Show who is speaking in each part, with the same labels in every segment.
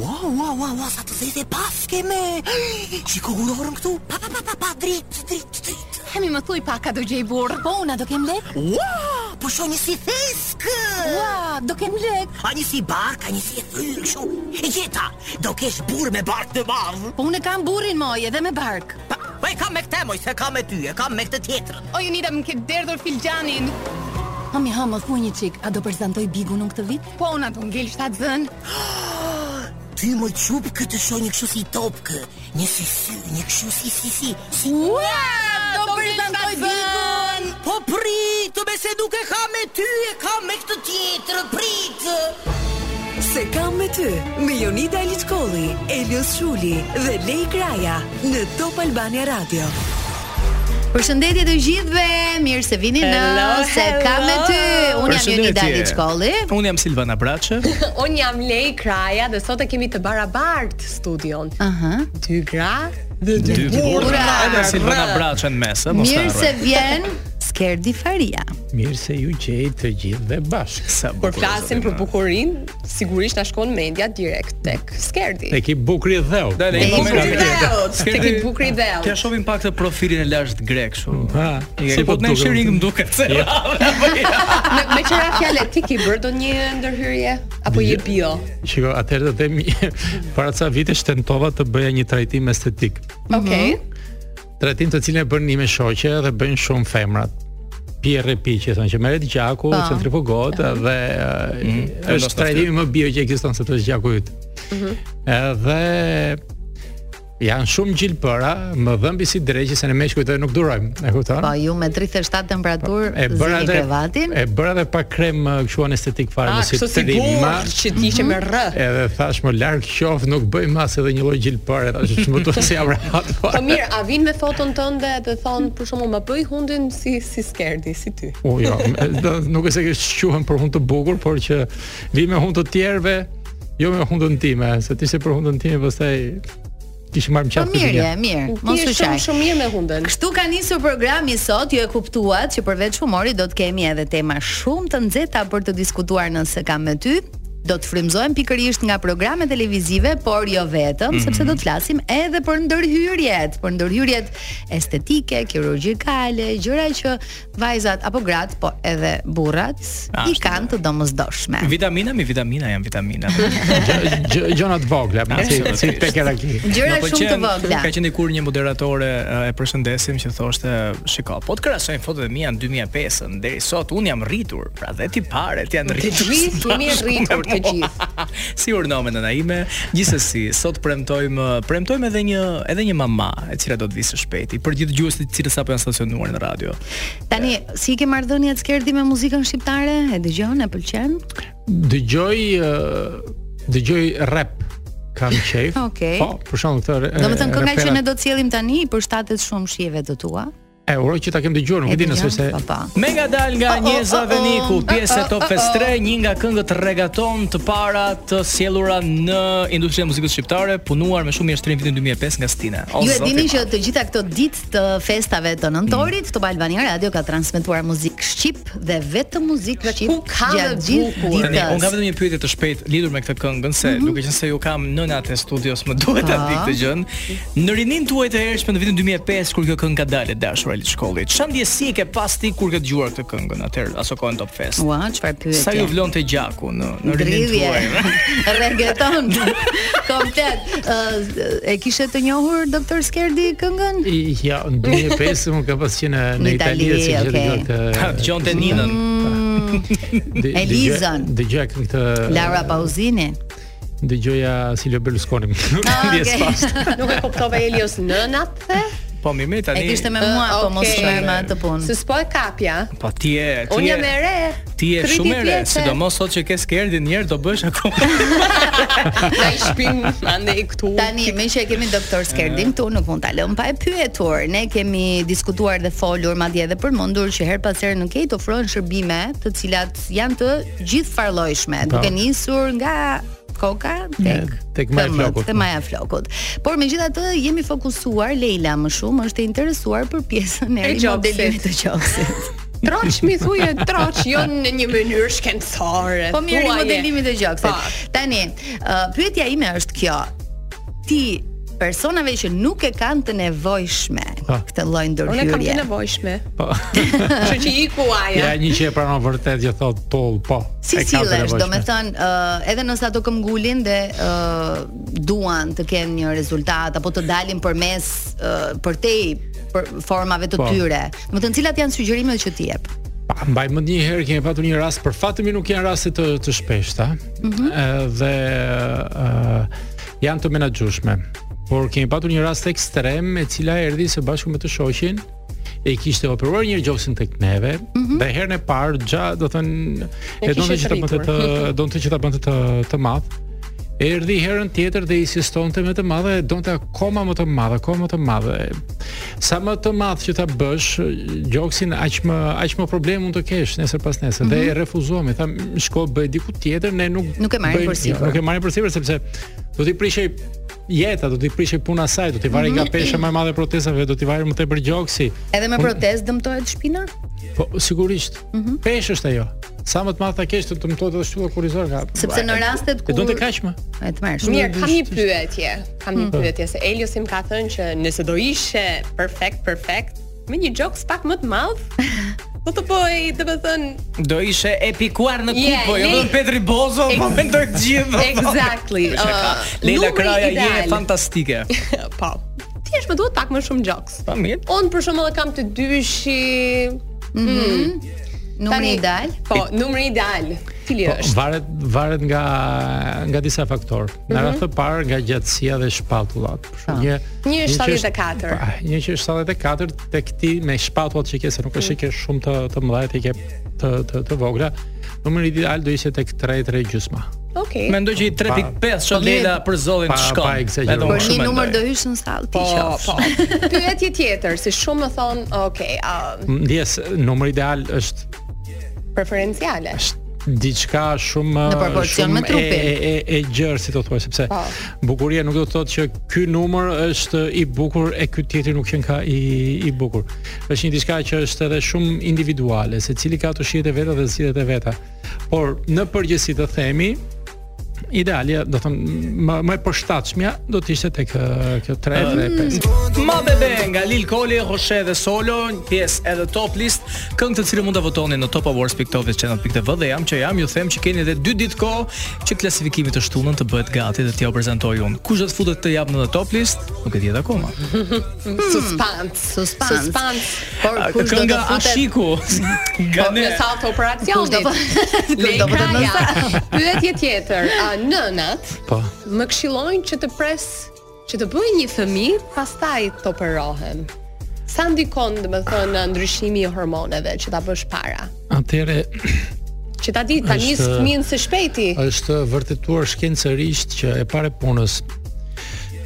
Speaker 1: ua, ua, ua, sa të zezë pas keme. Shiko gurorën këtu. Pa, pa, pa, pa, pa, drit, drit, drit.
Speaker 2: Hemi më thuj pak a do gjej burr. Po una do kem lek?
Speaker 1: Ua, po shoh një si thesk.
Speaker 2: Ua, do kem lek.
Speaker 1: A një si bark, a një si e thyrë kështu. E gjeta, do kesh burr me bark të madh.
Speaker 2: Po unë e kam burrin moj edhe me bark.
Speaker 1: Pa, pa e kam me këtë moj, se kam me ty, e kam me këtë tjetrën.
Speaker 2: O ju nida më ke derdhur filxhanin. Hami ha, më thuj një çik, a do prezantoj bigun unë këtë vit? Po una do ngel 7 zën.
Speaker 1: Ty moj qup këtë shoh një kështu si topkë, një si sy, një kështu si si si. si.
Speaker 2: Ua,
Speaker 1: do prezantoj bigun. Po prit, me se nuk e kam me ty, e kam me këtë tjetrën, prit.
Speaker 3: Se kam me ty, me Jonida Eliçkolli, Elios Shuli dhe Lej Kraja në Top Albania Radio.
Speaker 2: Përshëndetje të gjithëve, mirë se vini në
Speaker 4: Hello,
Speaker 2: se kam me ty. Unë jam
Speaker 4: Përshëndetje.
Speaker 2: Jonida Liçkolli.
Speaker 4: Unë jam Silvana Braçe.
Speaker 5: Un jam Lej Kraja dhe sot e kemi të barabart studion.
Speaker 2: Aha.
Speaker 5: Dy gra dhe
Speaker 4: Dy burra. Edhe Silvana Braçe në mes, ë, mos
Speaker 2: Mirë se
Speaker 4: harroj.
Speaker 2: vjen Skerdi Faria.
Speaker 6: Mirë se ju gjej të gjithë dhe bashkë.
Speaker 4: Sa bukur,
Speaker 5: Kur flasim
Speaker 4: zotë
Speaker 5: për
Speaker 4: ima.
Speaker 5: bukurinë, sigurisht na shkon mendja direkt tek Skerdi.
Speaker 6: Te ki bukri dheu.
Speaker 4: Dale,
Speaker 2: Te
Speaker 4: i
Speaker 2: i
Speaker 4: moment
Speaker 2: bukri
Speaker 4: ka tjetër.
Speaker 5: dheu,
Speaker 4: Skerdi,
Speaker 5: te ki bukri dheu.
Speaker 4: t'ja shohim pak të profilin e lashtë grek kështu.
Speaker 6: Ha,
Speaker 4: I
Speaker 6: si
Speaker 4: ke
Speaker 6: po
Speaker 4: po në
Speaker 6: duket?
Speaker 4: shiring më duket se.
Speaker 5: Me, me çfarë fjalë ti ke bërë do një ndërhyrje apo je bio?
Speaker 6: Shiko, atëherë do të themi para ca vitesh tentova të bëja një trajtim estetik.
Speaker 5: Okej.
Speaker 6: Trajtim të cilin e bën një me shoqe dhe bën shumë femrat. Pierre Piqi thonë që merret gjaku,
Speaker 2: Pa.
Speaker 6: centrifugohet dhe e,
Speaker 4: vendos
Speaker 6: është trajtimi më bio që ekziston sepse është gjaku yt. Edhe janë shumë gjilpëra, më dhëmbi si dreqës se ne me shkujtoj nuk durojmë, e kupton?
Speaker 2: Po ju me 37 temperaturë
Speaker 6: E bëra
Speaker 2: zini
Speaker 6: dhe
Speaker 2: krevatin. Po,
Speaker 6: e bëra dhe pa krem ë, kështu anestetik fare
Speaker 5: Ah,
Speaker 6: mos i
Speaker 5: kështu si
Speaker 6: trima.
Speaker 5: burr që ti ishe me r.
Speaker 6: Edhe thash më larg qof nuk bëj mas edhe një lloj gjilpare, tash më duhet se jam rahat.
Speaker 5: Po
Speaker 6: fare.
Speaker 5: mirë, a vinë me foton tënde dhe thonë për shkakun më bëj hundin si si Skerdi, si ty.
Speaker 6: U jo, me- do- nuk e se ke shquhen për hund të bukur, por që vi me hund të tjerëve, jo me hundën time, se ti se për hundën time pastaj kishim marrë më
Speaker 2: Po
Speaker 6: qatë
Speaker 2: mirë, je,
Speaker 6: këtë.
Speaker 2: mirë.
Speaker 5: Ti
Speaker 2: Mos
Speaker 5: je
Speaker 2: u
Speaker 5: shumë
Speaker 2: qaj.
Speaker 5: shumë mirë me hundën.
Speaker 2: Kështu ka nisur programi sot, ju e kuptuat që përveç humorit do të kemi edhe tema shumë të nxehta për të diskutuar nëse kam me ty. Do të frymëzohem pikërisht nga programe televizive, por jo vetëm,
Speaker 4: Mhm.
Speaker 2: sepse do të flasim edhe për ndërhyrjet, për ndërhyrjet estetike, kirurgjikale, gjëra që vajzat apo gratë, po edhe burrat i
Speaker 4: Ashtu.
Speaker 2: kanë të domosdoshme.
Speaker 4: Vitamina mi vitamina janë vitamina.
Speaker 6: Gjë- gjë- Gjëra të vogla, ma, si
Speaker 4: Absolutisht.
Speaker 6: si tek era ki.
Speaker 2: Gjëra
Speaker 4: Më pëlqen,
Speaker 2: shumë të vogla.
Speaker 4: Ka qenë kur një moderatore e përshëndesim që thoshte, "Shiko, po të krahasojmë fotot e mia në 2005-ën deri sot, un jam rritur, pra dhe ti paret janë
Speaker 5: Të
Speaker 4: rritur."
Speaker 5: gjithë jemi rritur të gjithë.
Speaker 4: si urnomen nëna ime. Gjithsesi, sot premtojmë premtojmë edhe një edhe një mama e cila do të vi së shpejti për gjithë dëgjuesit të cilët apo janë stacionuar në radio.
Speaker 2: Tani, si ke marrëdhëniet skerdi me muzikën shqiptare? E dëgjon, e pëlqen?
Speaker 6: Dëgjoj ë, dëgjoj rap kam qejf.
Speaker 2: Okej.
Speaker 6: Po, për shembull këtë.
Speaker 2: Do të thënë kënga që ne do të sjellim tani i përshtatet shumë shijeve të tua.
Speaker 6: E uroj që ta kem dëgjuar, nuk e di nëse se
Speaker 2: Po po.
Speaker 4: Mega dal nga
Speaker 2: Oh, oh,
Speaker 4: Njeza
Speaker 2: oh, oh.
Speaker 4: Veniku, pjesë e Top
Speaker 2: Oh, oh,
Speaker 4: Fest 3, një nga këngët regaton të para të sjellura në industrinë e muzikës shqiptare, punuar me shumë jashtërim vitin 2005 nga Stina.
Speaker 6: Oh,
Speaker 4: O,
Speaker 2: Ju e
Speaker 4: zoti
Speaker 2: dini
Speaker 4: madh.
Speaker 2: që të gjitha këto ditë të festave të nëntorit,
Speaker 6: Mm.
Speaker 2: Top Albania Radio ka transmetuar muzikë shqip dhe vetëm muzikë shqip.
Speaker 5: ku ka
Speaker 2: gjatë
Speaker 5: dhe
Speaker 2: gjithë
Speaker 5: bukur?
Speaker 4: Tani, unë kam
Speaker 2: ditës.
Speaker 4: vetëm një pyetje të shpejtë lidhur me këtë këngën se
Speaker 2: Mhm.
Speaker 4: duke qenë se ju kam nënat e studios më duhet ta di këtë gjën. Në rinin tuaj të hershëm në vitin 2005 kur kjo këngë ka dalë dashur Ali Shkolli. Çfarë ndjesi e ke pas ti kur ke dëgjuar këtë këngën atëherë aso kohën Top Fest?
Speaker 2: Ua, çfarë pyetje?
Speaker 4: Sa ju vlonte gjaku në në rinin
Speaker 2: Dridhje,
Speaker 4: tuaj?
Speaker 2: reggaeton, komplet. Ë, e kishe të njohur doktor Skerdi këngën?
Speaker 6: I- Ja, në 2005 unë kam pasur në
Speaker 2: Në
Speaker 6: në Itali
Speaker 2: Itali,
Speaker 6: dhe si
Speaker 2: okej.
Speaker 6: okay.
Speaker 4: Ha,
Speaker 6: këtë
Speaker 4: Dëgjonte Ninën.
Speaker 2: Mm.
Speaker 6: dë-
Speaker 2: Elizën.
Speaker 6: dëgjoja- Dëgjoja këtë
Speaker 2: Laura Pauzini.
Speaker 6: Dëgjoja Silvio Berlusconi. Nuk
Speaker 2: Ah,
Speaker 6: ndjes
Speaker 2: okej.
Speaker 6: pas.
Speaker 5: Nuk e kuptova Elios nënat the?
Speaker 4: Po mi me tani.
Speaker 2: E kishte me mua, po mos
Speaker 5: Okej.
Speaker 2: shkoj me atë punë.
Speaker 5: Se s'po e kapja.
Speaker 4: Po ti je, ti
Speaker 5: Unë
Speaker 4: je.
Speaker 5: jam e re.
Speaker 4: Ti je
Speaker 5: Kriti
Speaker 4: shumë e re,
Speaker 5: vjeçe.
Speaker 4: sidomos sot që ke skerdin një herë do bësh akoma.
Speaker 5: Na i shpin ande i këtu.
Speaker 2: Tani, me që e kemi doktor
Speaker 6: Eh.
Speaker 2: Skerdin këtu, nuk mund ta lëm pa e pyetur. Ne kemi diskutuar dhe folur, madje edhe përmendur që her pas here në Kate ofrojnë shërbime të cilat janë të gjithë farllojshme, duke nisur nga koka tek
Speaker 6: Ne, tek maja e
Speaker 2: këmbët,
Speaker 6: flokut.
Speaker 2: Te maja e flokut. Por megjithatë jemi fokusuar Leila më shumë është e interesuar për pjesën e
Speaker 5: E
Speaker 2: ri
Speaker 5: gjopsit.
Speaker 2: modelimit të qoksit.
Speaker 5: Troç mi thuje, troç, jo në një mënyrë shkencore.
Speaker 2: Po mirë i
Speaker 5: thuaje.
Speaker 2: modelimit të
Speaker 5: Pa.
Speaker 2: gjoksit. Tani, ë, pyetja ime është kjo. Ti personave që nuk e kanë të nevojshme
Speaker 6: Pa.
Speaker 2: këtë lloj
Speaker 5: Unë e kam të
Speaker 2: ndërhyrje.
Speaker 5: nevojshme.
Speaker 6: Po.
Speaker 5: Kështu që iku aja.
Speaker 6: Ja një që e pranon vërtet që thot toll, po.
Speaker 2: Si
Speaker 6: e ka të
Speaker 2: sillesh,
Speaker 6: nevojshme.
Speaker 2: domethënë, ë edhe nëse ato këmbgulin dhe ë duan të kenë një rezultat apo të dalin përmes ë përtej për formave të
Speaker 6: Po.
Speaker 2: tyre. Domethënë, cilat janë sugjerimet që ti jep?
Speaker 6: Pa, mbaj mend një herë kemi patur një rast, për fat të mirë nuk janë raste të të shpeshta. Mm dhe ë, janë të menaxhueshme. Por kemi patur një rast ekstrem e cila erdhi së bashku me të shoqin e kishte operuar një gjoksin tek neve dhe herën e parë gja, do thënë, e donte
Speaker 5: kishe
Speaker 6: që ta bënte
Speaker 5: rritur.
Speaker 6: të donte që ta bënte të të madh. Erdhi herën tjetër dhe insistonte me të madhe, e donte akoma më të madhe, akoma më të madhe. Sa më të madh që ta bësh gjoksin, aq më aq më problem mund të kesh nesër pas nesër. Dhe e refuzuam, i tham, shko bëj diku tjetër, ne nuk
Speaker 2: Mhm. Nuk e marrim
Speaker 6: bëjmë-
Speaker 2: përsipër.
Speaker 6: Nuk e marrim përsipër sepse do t'i prishej jeta, do t'i prishej puna e saj, do t'i varej nga
Speaker 2: Mhm.
Speaker 6: pesha më e madhe e protestave, do t'i varej më tepër gjoksi.
Speaker 2: Edhe me
Speaker 6: Unë-
Speaker 2: protestë dëmtohet shpina?
Speaker 6: Po sigurisht.
Speaker 2: Mhm.
Speaker 6: Pesh është ajo. Sa më të madh ta kesh, të dëmtohet edhe shtylla kurrizor nga.
Speaker 2: Sepse në rastet
Speaker 6: E
Speaker 2: kur
Speaker 6: donte kaq më.
Speaker 2: E të marrësh.
Speaker 5: Mirë, kam një pyetje. Kam
Speaker 4: Hmm.
Speaker 5: një pyetje se Eliosi më ka thënë që nëse do ishe perfekt, perfekt, me një jokes pak më të madh, do të bëj, domethënë,
Speaker 4: Do ishe epikuar në
Speaker 5: Je,
Speaker 4: kupë, jo
Speaker 5: le-
Speaker 4: vetëm Petri Bozo, po
Speaker 5: Ex-
Speaker 4: mendoj të gjithë. do thonë.
Speaker 5: Exactly.
Speaker 4: Është ka.
Speaker 2: Ah,
Speaker 5: Ë,
Speaker 4: Leila
Speaker 5: numri
Speaker 4: Kraja je
Speaker 5: ideal.
Speaker 4: fantastike.
Speaker 5: po. Thjesht më duhet pak më shumë jokes.
Speaker 4: Po mirë.
Speaker 5: Unë për shembull e kam të dyshi.
Speaker 2: Numri i dal.
Speaker 5: Po, numri ideal. Cili
Speaker 6: Po,
Speaker 5: është?
Speaker 6: varet varet nga nga disa faktorë. Në radhë të parë nga gjatësia dhe shpatullat. Për shembull, Një
Speaker 5: Një është
Speaker 6: që është-
Speaker 5: 74.
Speaker 6: Pa, Një që është 74 tek ti me shpatullat që ke se nuk është që ke shumë të të mëdha, ti ke të të, të vogla. Numri ideal do ishte tek 3 3 gjysma.
Speaker 5: Okej.
Speaker 4: Mendoj që i 3.5 që Leila për zollin
Speaker 6: Pa-
Speaker 4: të shkon.
Speaker 6: pa eksagjeruar.
Speaker 4: Edhe unë
Speaker 2: Për po një
Speaker 4: shumë
Speaker 2: numër do
Speaker 4: mendoj.
Speaker 2: hysh në sallë ti
Speaker 5: Po,
Speaker 2: qofsh.
Speaker 5: po. Pyetje tjetër, si shumë më thon, okay, uh,
Speaker 6: Ndjes, numri ideal është
Speaker 5: preferenciale.
Speaker 6: është diçka shumë
Speaker 2: Në proporcion
Speaker 6: shumë
Speaker 2: me trupin.
Speaker 6: e, e, e, e gjerë si të thuaj sepse
Speaker 5: Po.
Speaker 6: bukuria nuk do të thotë që ky numër është i bukur e ky tjetri nuk qen ka i i bukur. Është një diçka që është edhe shumë individuale, secili ka të shihet e veta dhe zgjidhjet e veta. Por në përgjithësi të themi idealja, do të thënë më më e përshtatshmja do të ishte tek ë, kjo 3 dhe 5.
Speaker 4: Ma bebe nga Lil Koli, Roshe dhe Solo, një pjesë edhe top list, këngë të cilën mund ta votoni në topawards.tv channel.tv dhe jam që jam, ju them që keni edhe 2 ditë kohë që klasifikimi të shtunën të bëhet gati dhe t'ja u prezantoj unë. Kush do të futet të japë në top list, nuk e di edhe akoma.
Speaker 5: Hmm. Suspans.
Speaker 2: Suspans.
Speaker 5: Suspans. Po,
Speaker 2: Por kush do të
Speaker 4: Kënga
Speaker 2: futet? Po,
Speaker 4: Ashiku nga ne.
Speaker 5: Në saltë
Speaker 2: Kush do
Speaker 5: operacionit.
Speaker 2: të kush do të
Speaker 5: Lekra
Speaker 2: futet në
Speaker 5: ja.
Speaker 2: sallë?
Speaker 5: Pyetje tjetër, a, nënat
Speaker 6: Po.
Speaker 5: më këshillojnë që të pres që të bëj një fëmijë, pastaj të operohem. Sa ndikon, dhe më thënë, ndryshimi i hormoneve që ta bësh para?
Speaker 6: Atëre
Speaker 5: Që ta di, ta
Speaker 6: Është-
Speaker 5: njësë fëmijën së shpejti.
Speaker 6: është vërtetuar shkencërisht që e pare punës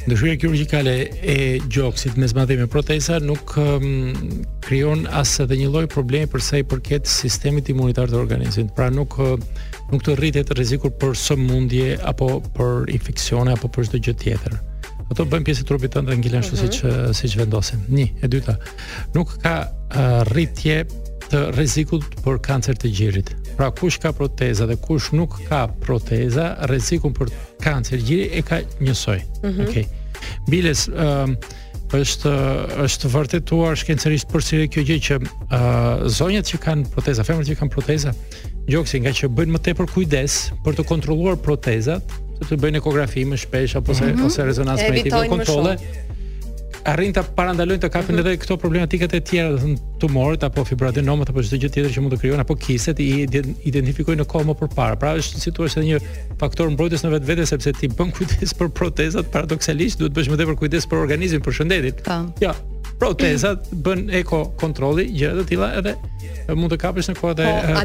Speaker 6: ndryshirja kirurgjikale e gjoksit me zmadhje me proteza nuk um, krijon as edhe një lloj problemi për sa i përket sistemit imunitar të organizmit. Pra nuk ë, nuk të rritet rreziku për sëmundje apo për infeksione apo për çdo gjë tjetër. Ato bëjnë pjesë e trupit tënd dhe ngilen ashtu siç siç vendosin. Një, e dyta, nuk ka ë, rritje të rrezikut për kancer të gjirit. Pra kush ka proteza dhe kush nuk ka proteza, rrezikun për kancer gjiri e ka njësoj.
Speaker 5: Mhm.
Speaker 6: Okej. Biles ëm është është vërtetuar shkencërisht përsëri kjo gjë që ë zonjat që kanë proteza, femrat që kanë proteza, gjoksi nga që bëjnë më tepër kujdes për të kontrolluar protezat, sepse bëjnë ekografi më shpesh apo se ose rezonancë magnetikë
Speaker 5: E Mhm. evitojnë më
Speaker 6: kontrolle arrin ta parandalojnë të kapin
Speaker 5: Mhm.
Speaker 6: edhe këto problematikat e tjera, do të thënë tumorët apo fibroadenomat apo çdo gjë tjetër që mund të krijojnë apo kistet i ide- identifikojnë në kohë më përpara. Pra është si thua se një faktor mbrojtës në vetvete sepse ti bën kujdes për protezat, paradoksalisht duhet bësh më tepër kujdes për organizmin, për shëndetin.
Speaker 2: Po.
Speaker 6: Ja, protezat bën eko kontrolli, gjëra të tilla edhe e, mund të kapesh në kohë dhe
Speaker 5: Po,
Speaker 6: e,
Speaker 5: a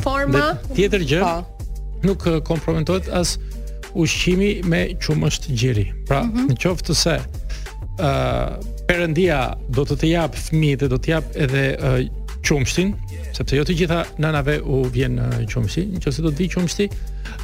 Speaker 6: problematika.
Speaker 5: forma?
Speaker 6: Dhe Tjetër gjë,
Speaker 5: Po.
Speaker 6: nuk e, kompromentohet as ushqimi me qumësht gjeri. Pra,
Speaker 5: Mhm.
Speaker 6: në qoftë të se ë Perëndia do të të jap fëmijët, do të jap edhe ë qumshtin, sepse jo të gjitha nënave u vjen uh, qumshti. Nëse do të vi qumshti,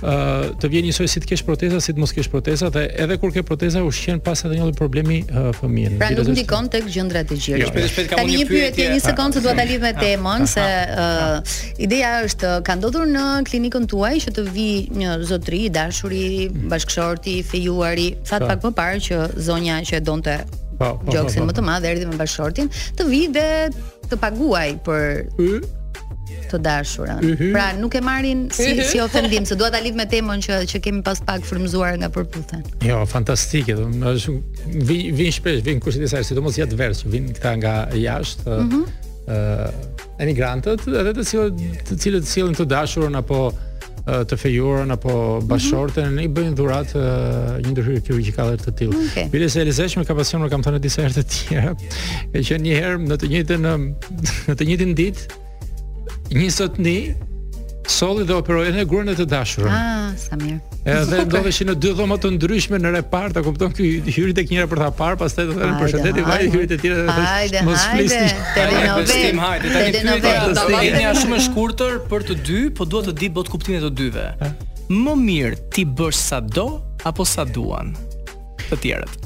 Speaker 6: uh, të vjen njësoj si të kesh proteza, si të mos kesh proteza dhe edhe kur ke proteza ushqen pas edhe një lloj problemi uh, fëmijën.
Speaker 2: Pra nuk
Speaker 6: Gjithashtu-
Speaker 2: ndikon tek gjëndrat e
Speaker 6: Jo,
Speaker 2: gjirës.
Speaker 4: shpejt- shpejt kam
Speaker 2: Tani
Speaker 4: unë
Speaker 2: një
Speaker 4: një
Speaker 2: pyetje,
Speaker 4: pyetje.
Speaker 2: një sekondë se dua ta
Speaker 4: Ah,
Speaker 2: lidh me
Speaker 4: ah,
Speaker 2: temën
Speaker 4: ah,
Speaker 2: se ë, ideja është ka ndodhur në klinikën tuaj që të vi një zotëri i dashuri, bashkëshorti, i fejuari, that
Speaker 6: Mm. Po.
Speaker 2: pak më parë që zonja që e donte
Speaker 6: Po, po, po,
Speaker 2: gjoksin
Speaker 6: po.
Speaker 2: më të madh erdhi me bashkëshortin, të vi dhe të paguaj për
Speaker 6: Ë,
Speaker 2: të dashurën.
Speaker 6: Yhy.
Speaker 2: Pra nuk e marrin si
Speaker 6: Mhm.
Speaker 5: Yhy.
Speaker 2: si ofendim, se dua ta lidh me temën që që kemi pas pak frymzuar nga përputhen.
Speaker 6: Jo, fantastike, do më është vin vin shpesh, vin kushtet e saj, sidomos jatë verë që vin këta nga jashtë. ë ë, emigrantët, edhe të cilët të cilët sjellin të dashurën apo ë, të fejurën apo bashortën, i bëjnë dhuratë ë, një ndërhyrje kirurgjikale të tillë.
Speaker 2: Okej.
Speaker 6: Bile se e lezesh me kapacion kam thënë disa herë të tjera, e që një herë në të njëjtën ë, në të njëjtin ditë një sotni solli dhe operoi në gruan e të dashurën.
Speaker 2: Ah, sa mirë.
Speaker 6: Edhe ndodheshin në dy dhoma të ndryshme në repart, ta kupton ky hyri tek njëra për ta parë, pastaj do të thënë përshëndetje, vaje hyri te tjera dhe
Speaker 2: Hajde,
Speaker 6: thosh mos
Speaker 2: hajde.
Speaker 6: flisni.
Speaker 4: Bestim, hajde, tani pyetja
Speaker 2: Telenovela.
Speaker 4: është
Speaker 6: Fantastike.
Speaker 4: një shumë e shkurtër për të dy, po dua të di bot kuptimin e të dyve. Më mirë ti bësh sa do apo sa duan të tjerët.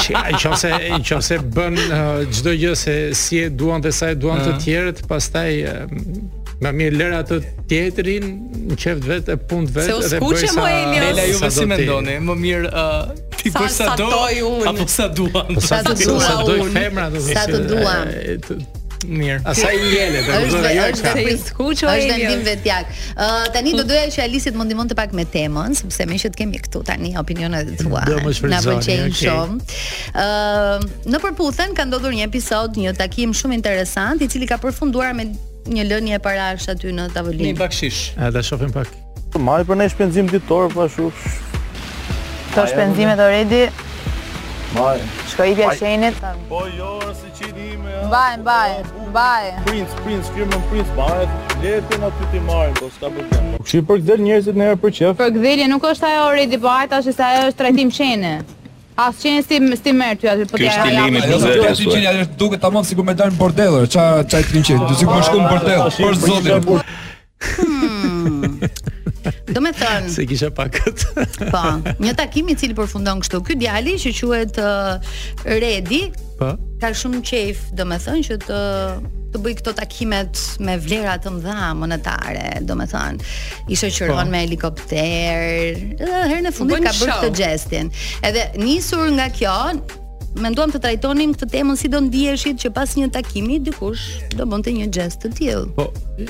Speaker 6: Që- Ai nëse nëse bën uh, çdo gjë se si e duan dhe sa e duan të tjerët, pastaj uh, më mirë lër atë tjetrin në qeft vetë e punë
Speaker 5: Se
Speaker 6: vetë
Speaker 5: u
Speaker 6: dhe
Speaker 5: skuqe, mo, Elios.
Speaker 4: Lela
Speaker 6: sa
Speaker 4: juve
Speaker 6: do
Speaker 4: si
Speaker 6: ti.
Speaker 4: mendoni? Më mirë ë, ti
Speaker 5: Sa-
Speaker 4: bësh sa
Speaker 5: sa
Speaker 4: do
Speaker 5: doj unë.
Speaker 4: apo sa duan.
Speaker 6: Po, Sa
Speaker 2: të
Speaker 6: të
Speaker 2: dua
Speaker 6: dua, sa të doj
Speaker 2: unë,
Speaker 6: femra do
Speaker 2: sa të dua.
Speaker 6: dua.
Speaker 4: Mirë.
Speaker 6: Asaj i jele, do të
Speaker 2: Është
Speaker 6: thonë
Speaker 2: ve-
Speaker 6: ajo
Speaker 2: është
Speaker 6: ka.
Speaker 5: Se i
Speaker 2: prit.
Speaker 5: skuqo
Speaker 2: Është
Speaker 5: Elios.
Speaker 2: vendim vetjak. Ë tani do doja që Alisit mund ndihmonte pak me temën, sepse me që të kemi këtu tani opinionet e tua.
Speaker 6: Do më shfrytëzoni,
Speaker 2: Na pëlqejnë
Speaker 6: okay.
Speaker 2: shumë. Ë në përputhen ka ndodhur një episod, një takim shumë interesant, i cili ka përfunduar me një lënie parash aty në
Speaker 4: Një
Speaker 2: tavolinë.
Speaker 4: bakshish.
Speaker 6: A ta shohim pak.
Speaker 7: Maj për ne shpenzim ditor pa shu.
Speaker 8: Këto shpenzimet already,
Speaker 7: Maj.
Speaker 8: shko i pja shenit.
Speaker 7: Po jo, ora, si qeni ime. a.
Speaker 8: Mbaj, mbaj, mbaj.
Speaker 7: Prince, Prince, firmën Prince marret. Letën aty ti marrin, po s'ka problem. Kështu për këtë njerëzit në herë për qef.
Speaker 8: Për gdhelje nuk është ajo already, po hajt tash se ajo është trajtim qene. As qene si si merr ty aty, po ti ajo
Speaker 9: Ajo do të thotë që ajo duket tamam sikur më dalën bordel, ça ça të kimçi, sikur më shkon në bordel, për zotin.
Speaker 2: Do me thënë,
Speaker 6: Se kisha pak këtë.
Speaker 2: po, një takim i cili përfundon kështu. Ky djali që quhet ë, Redi,
Speaker 6: Po.
Speaker 2: ka shumë qejf, domethënë që të të bëj këto takimet me vlera të mëdha monetare, domethënë i shoqëron me helikopter. Edhe herën e fundit
Speaker 5: Po. Bën
Speaker 2: ka bërë
Speaker 5: show.
Speaker 2: këtë gestin. Edhe nisur nga kjo, menduam të trajtonim këtë temën si do ndiheshit që pas një takimi dikush do bënte një gest të tillë.
Speaker 6: Po,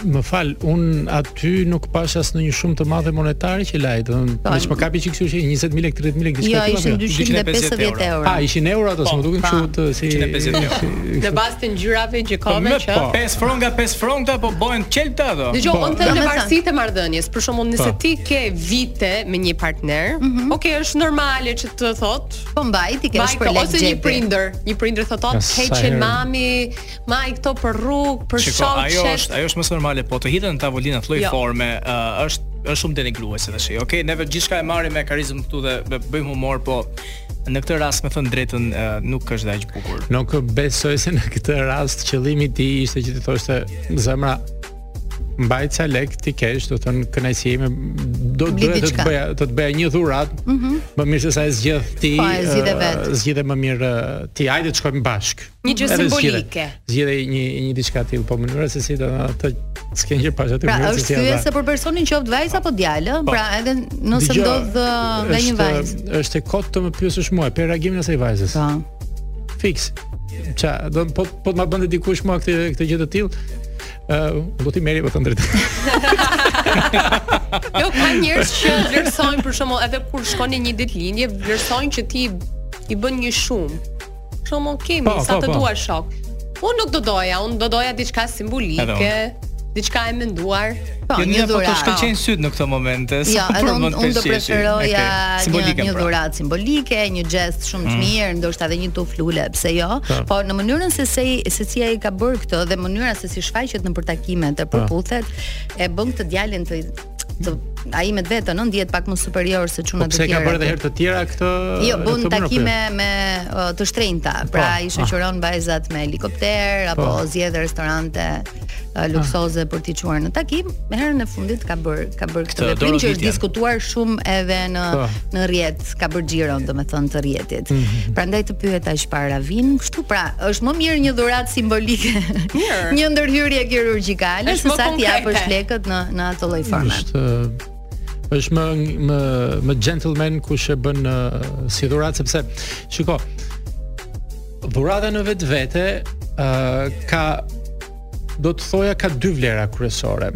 Speaker 6: më fal, un aty nuk pash asnjë shumë të madhe monetare që lajt, do të
Speaker 2: Po,
Speaker 6: thonë, më kapi çik kështu që 20000 lekë, 30000 lekë diçka
Speaker 2: Jo,
Speaker 6: tilla,
Speaker 2: ishin
Speaker 6: po.
Speaker 2: 250
Speaker 4: 250 euro.
Speaker 2: euro.
Speaker 6: Ah, ishin euro ato, s'më duken kështu të si
Speaker 4: 150 euro.
Speaker 6: si-
Speaker 5: Në bazë të ngjyrave
Speaker 4: Me
Speaker 5: gjykove që
Speaker 4: po. 5 fronga, 5 fronga, po bëhen qelta ato.
Speaker 5: Dëgjoj,
Speaker 6: Po,
Speaker 5: unë them në
Speaker 2: domethënë-
Speaker 5: varësi të marrëdhënies. Për shembull, nëse
Speaker 6: Po.
Speaker 5: ti ke vite me një partner, okay, është normale që të thotë
Speaker 2: Po mbaj, ti ke
Speaker 5: Maj, këto,
Speaker 2: shpërlek
Speaker 5: ose një
Speaker 2: gjepi.
Speaker 5: prindër, një prindër thotë,
Speaker 6: Ja,
Speaker 5: "O,
Speaker 6: sa
Speaker 5: heqen
Speaker 6: herë."
Speaker 5: mami, maj këto për rrugë, për
Speaker 4: Shiko, ajo është,
Speaker 5: shoqet."
Speaker 4: ajo është më së normale, po të hidhen në tavolinë atë lloj
Speaker 5: Jo.
Speaker 4: forme, ë, është është shumë denigruese tash. Okej, neve gjithçka e marrim me karizëm këtu dhe dhe bëjmë humor, po në këtë rast me thënë drejtën ë, nuk është dhe aq bukur.
Speaker 2: Po,
Speaker 6: Nuk besoj se në këtë rast qëllimi i tij ishte që ti thoshte zemra mbaj ca lek ti kesh, do të thonë kënaqësi ime do
Speaker 2: Bli
Speaker 6: doja të
Speaker 2: diçka. Mhm.
Speaker 6: të bëja do të bëja një dhuratë. Më mirë se sa e zgjedh ti.
Speaker 2: Po, e zgjidhe
Speaker 6: ë,
Speaker 2: vetë.
Speaker 6: Zgjidhe më mirë ë, ti, hajde të shkojmë bashkë.
Speaker 5: Një gjë
Speaker 6: Edhe zgjidhe.
Speaker 5: simbolike.
Speaker 6: Zgjidhe një një diçka tillë, po mënyra se si do të s'ke gjë pas atë
Speaker 2: Pra
Speaker 6: mënyrë
Speaker 2: është
Speaker 6: janë
Speaker 2: thyese
Speaker 6: bashkë.
Speaker 2: për personin qoftë vajzë apo djalë, pra edhe nëse
Speaker 6: Dgjoj,
Speaker 2: ndodh ë, nga një
Speaker 6: Po. është-
Speaker 2: vajzë.
Speaker 6: Është e kot të më pyesësh mua për reagimin e asaj vajzës.
Speaker 2: Po.
Speaker 6: Fiks. Ça, do po po të ma bënte dikush mua këtë këtë gjë të tillë. Ë, do ti merri me të drejtë.
Speaker 5: Jo, ka njerëz që vlerësojnë për shembull edhe kur shkon në një ditë lindje, vlerësojnë që ti i bën një shumë. Për Shembull, kemi
Speaker 6: Po,
Speaker 5: sa
Speaker 6: po,
Speaker 5: të
Speaker 6: po.
Speaker 5: dua shok. Unë nuk do doja, unë do doja diçka
Speaker 4: Edhe
Speaker 5: simbolike, diçka e menduar.
Speaker 2: Po,
Speaker 4: Jo,
Speaker 2: një
Speaker 4: nina po të
Speaker 2: dhuratë.
Speaker 4: shkëlqejnë syt në këto momente.
Speaker 2: Ja,
Speaker 4: s'u
Speaker 2: edhe unë
Speaker 4: përmend
Speaker 2: un do
Speaker 4: peshishin. Okej,
Speaker 2: preferoja një,
Speaker 4: simbolike,
Speaker 2: një
Speaker 4: pra. Mm.
Speaker 2: dhuratë simbolike, një gest shumë të mirë, ndoshta edhe një tufë lule, pse jo? Po në mënyrën se se se si ai ka bërë këtë
Speaker 6: Po.
Speaker 2: dhe mënyra se si shfaqet në përtakimet e përputhet, e bën këtë djalin të të ai me vetën ë ndihet pak më superior se
Speaker 6: Po
Speaker 2: çuna të
Speaker 6: pse
Speaker 2: tjera.
Speaker 6: ka bërë edhe herë të tjera këtë
Speaker 2: Jo, bën
Speaker 6: këtë
Speaker 2: takime
Speaker 6: monopol?
Speaker 2: me ë, të shtrenjta, pra
Speaker 6: Po,
Speaker 2: i shoqëron vajzat me helikopter apo
Speaker 6: Po.
Speaker 2: zgjedh restorante ë, luksoze për t'i çuar në takim, herën e fundit ka bër ka bër këtë
Speaker 4: Këtë
Speaker 2: veprim që është
Speaker 4: dorëvitjen.
Speaker 2: diskutuar shumë edhe në
Speaker 6: Po.
Speaker 2: në rrjet, ka bër xhiron domethënë të rrjetit.
Speaker 6: Mhm.
Speaker 2: Prandaj të pyet aq para vin, kështu pra, është më mirë një dhuratë simbolike.
Speaker 5: Mirë.
Speaker 2: një ndërhyrje kirurgjikale
Speaker 5: Është
Speaker 2: se
Speaker 5: më
Speaker 2: sa ti japësh
Speaker 5: konkrete.
Speaker 2: lekët në në atë lloj forme.
Speaker 6: Është është më më më gentleman kush e bën ë, si dhuratë sepse shiko dhurata në vetvete ë ka do të thoja ka dy vlera kryesore.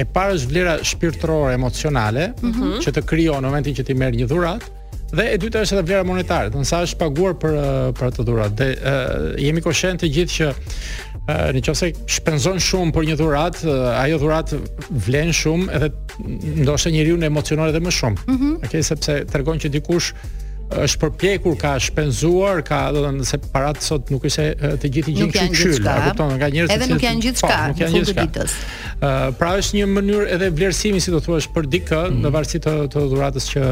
Speaker 6: E para është vlera shpirtërore, emocionale, që të krijon në momentin që ti merr një dhuratë, dhe e dyta është edhe vlera monetare, do të thonë sa është paguar për ë, për atë dhuratë. Dhe ë, jemi koshent të gjithë që ë, në qoftë se shpenzon shumë për një dhuratë, ë, ajo dhuratë vlen shumë edhe ndoshta njeriu në emocionon edhe më shumë. Okej, sepse tregon që dikush është përpjekur, ka shpenzuar, ka do të thënë se parat sot nuk është se ë, të gjithë i gjejnë
Speaker 2: Nuk janë
Speaker 6: kështu qyl,
Speaker 2: gjithçka.
Speaker 6: a kupton, nga njerëz
Speaker 2: Edhe
Speaker 6: të
Speaker 2: nuk
Speaker 6: cilët-
Speaker 2: janë gjithçka
Speaker 6: po, nuk
Speaker 2: në
Speaker 6: janë
Speaker 2: fund të
Speaker 6: gjithçka.
Speaker 2: ditës.
Speaker 6: Ë, pra është një mënyrë edhe vlerësimi si do thua është për dikë
Speaker 2: Mm.
Speaker 6: në varësi të, të dhuratës që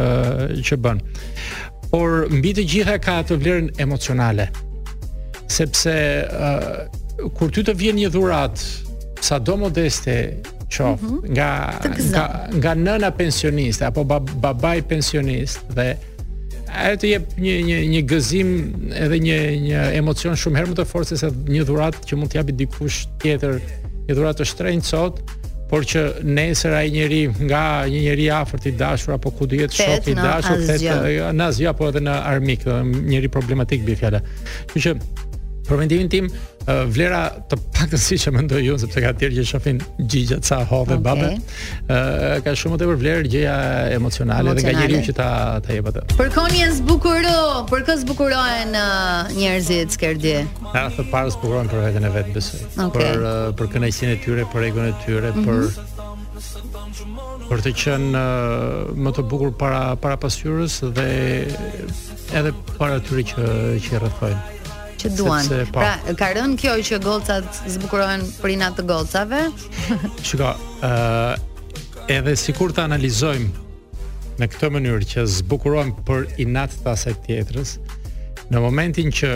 Speaker 6: që bën. Por mbi të gjitha ka atë vlerën emocionale. Sepse ë kur ty të vjen një dhuratë sado modeste qoftë nga
Speaker 2: Mhm. Të gëzon.
Speaker 6: nga nga nëna pensioniste apo bab, babai pensionist dhe ajo të jep një një një gëzim edhe një një emocion shumë herë më të fortë se sa një dhuratë që mund të japi dikush tjetër, një dhuratë të shtrenjtë sot, por që nesër ai njeri nga një njeri i afërt i dashur apo ku do jetë
Speaker 2: Tet
Speaker 6: shok i
Speaker 2: në
Speaker 6: dashur, tet
Speaker 2: asgjë.
Speaker 6: në asgjë apo edhe në armik, do njëri problematik bi fjala. Kështu që për mendimin tim ë, vlera të paktën siç e mendoj unë sepse ka të tjerë që shohin gjigja ca hodhe
Speaker 2: Okej.
Speaker 6: babe. ë ka shumë më tepër vlerë gjëja emocionale, dhe nga
Speaker 2: Emocionale.
Speaker 6: njeriu që ta ta jep atë.
Speaker 2: Për konjen zbukuro, për kë zbukurohen ë, njerëzit skerdi.
Speaker 6: Ata të parës bukurohen për veten e vet, besoj.
Speaker 2: Okej.
Speaker 6: Për uh, për kënaqësinë e tyre, për egon e tyre, për për të qenë uh, më të bukur para para pasqyrës dhe edhe para atyre që që i rrethojnë.
Speaker 2: që duan.
Speaker 6: Sepse, po.
Speaker 2: Pra, ka rënë kjo që gocat zbukurohen për inat të gocave.
Speaker 6: Shiko, ë edhe sikur të analizojmë në këtë mënyrë që zbukurohem për inat të asaj tjetrës, në momentin që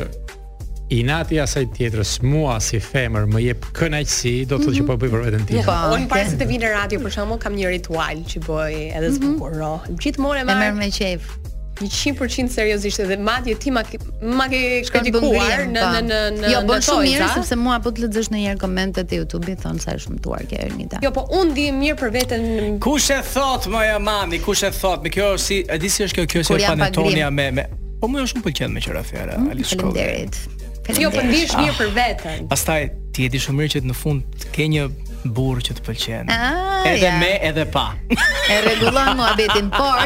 Speaker 6: inati i asaj tjetrës mua si femër më jep kënaqësi, do të thotë që po e bëj për veten time.
Speaker 2: Po,
Speaker 5: Unë para
Speaker 2: ke-
Speaker 5: se të vinë në radio për shembull kam një ritual që bëj edhe zbukurohem. Gjithmonë e
Speaker 2: Mhm. e merr
Speaker 5: marr
Speaker 2: me qejf.
Speaker 5: 100% seriozisht dhe madje ti ma ke ma ke
Speaker 2: Shkon
Speaker 5: kritikuar
Speaker 2: bëngrihen,
Speaker 5: në
Speaker 2: po.
Speaker 5: në në në
Speaker 2: Jo, bën
Speaker 5: në
Speaker 2: shumë mirë
Speaker 5: tojza.
Speaker 2: sepse mua po të lexosh në një herë komentet e YouTube-it thon sa e shëmtuar ke Ernita.
Speaker 5: Jo, po unë di mirë për veten
Speaker 4: Kush e thot më ja mami, kush e thot? Me kjo si e di si është kjo kjo si
Speaker 2: Kur jam pa
Speaker 4: panetonia
Speaker 2: grim. Mm,
Speaker 4: me me. Po më është shumë pëlqen me qira fjala Ali Shkolla.
Speaker 2: Faleminderit.
Speaker 5: Jo, po
Speaker 2: Faleminderit.
Speaker 5: ndihesh
Speaker 6: Ah.
Speaker 5: mirë për veten.
Speaker 4: Pastaj ti e di shumë mirë që në fund të ke një burr që të pëlqen.
Speaker 2: Ah,
Speaker 4: edhe
Speaker 2: ja.
Speaker 4: me edhe pa.
Speaker 2: E rregullon muhabetin, por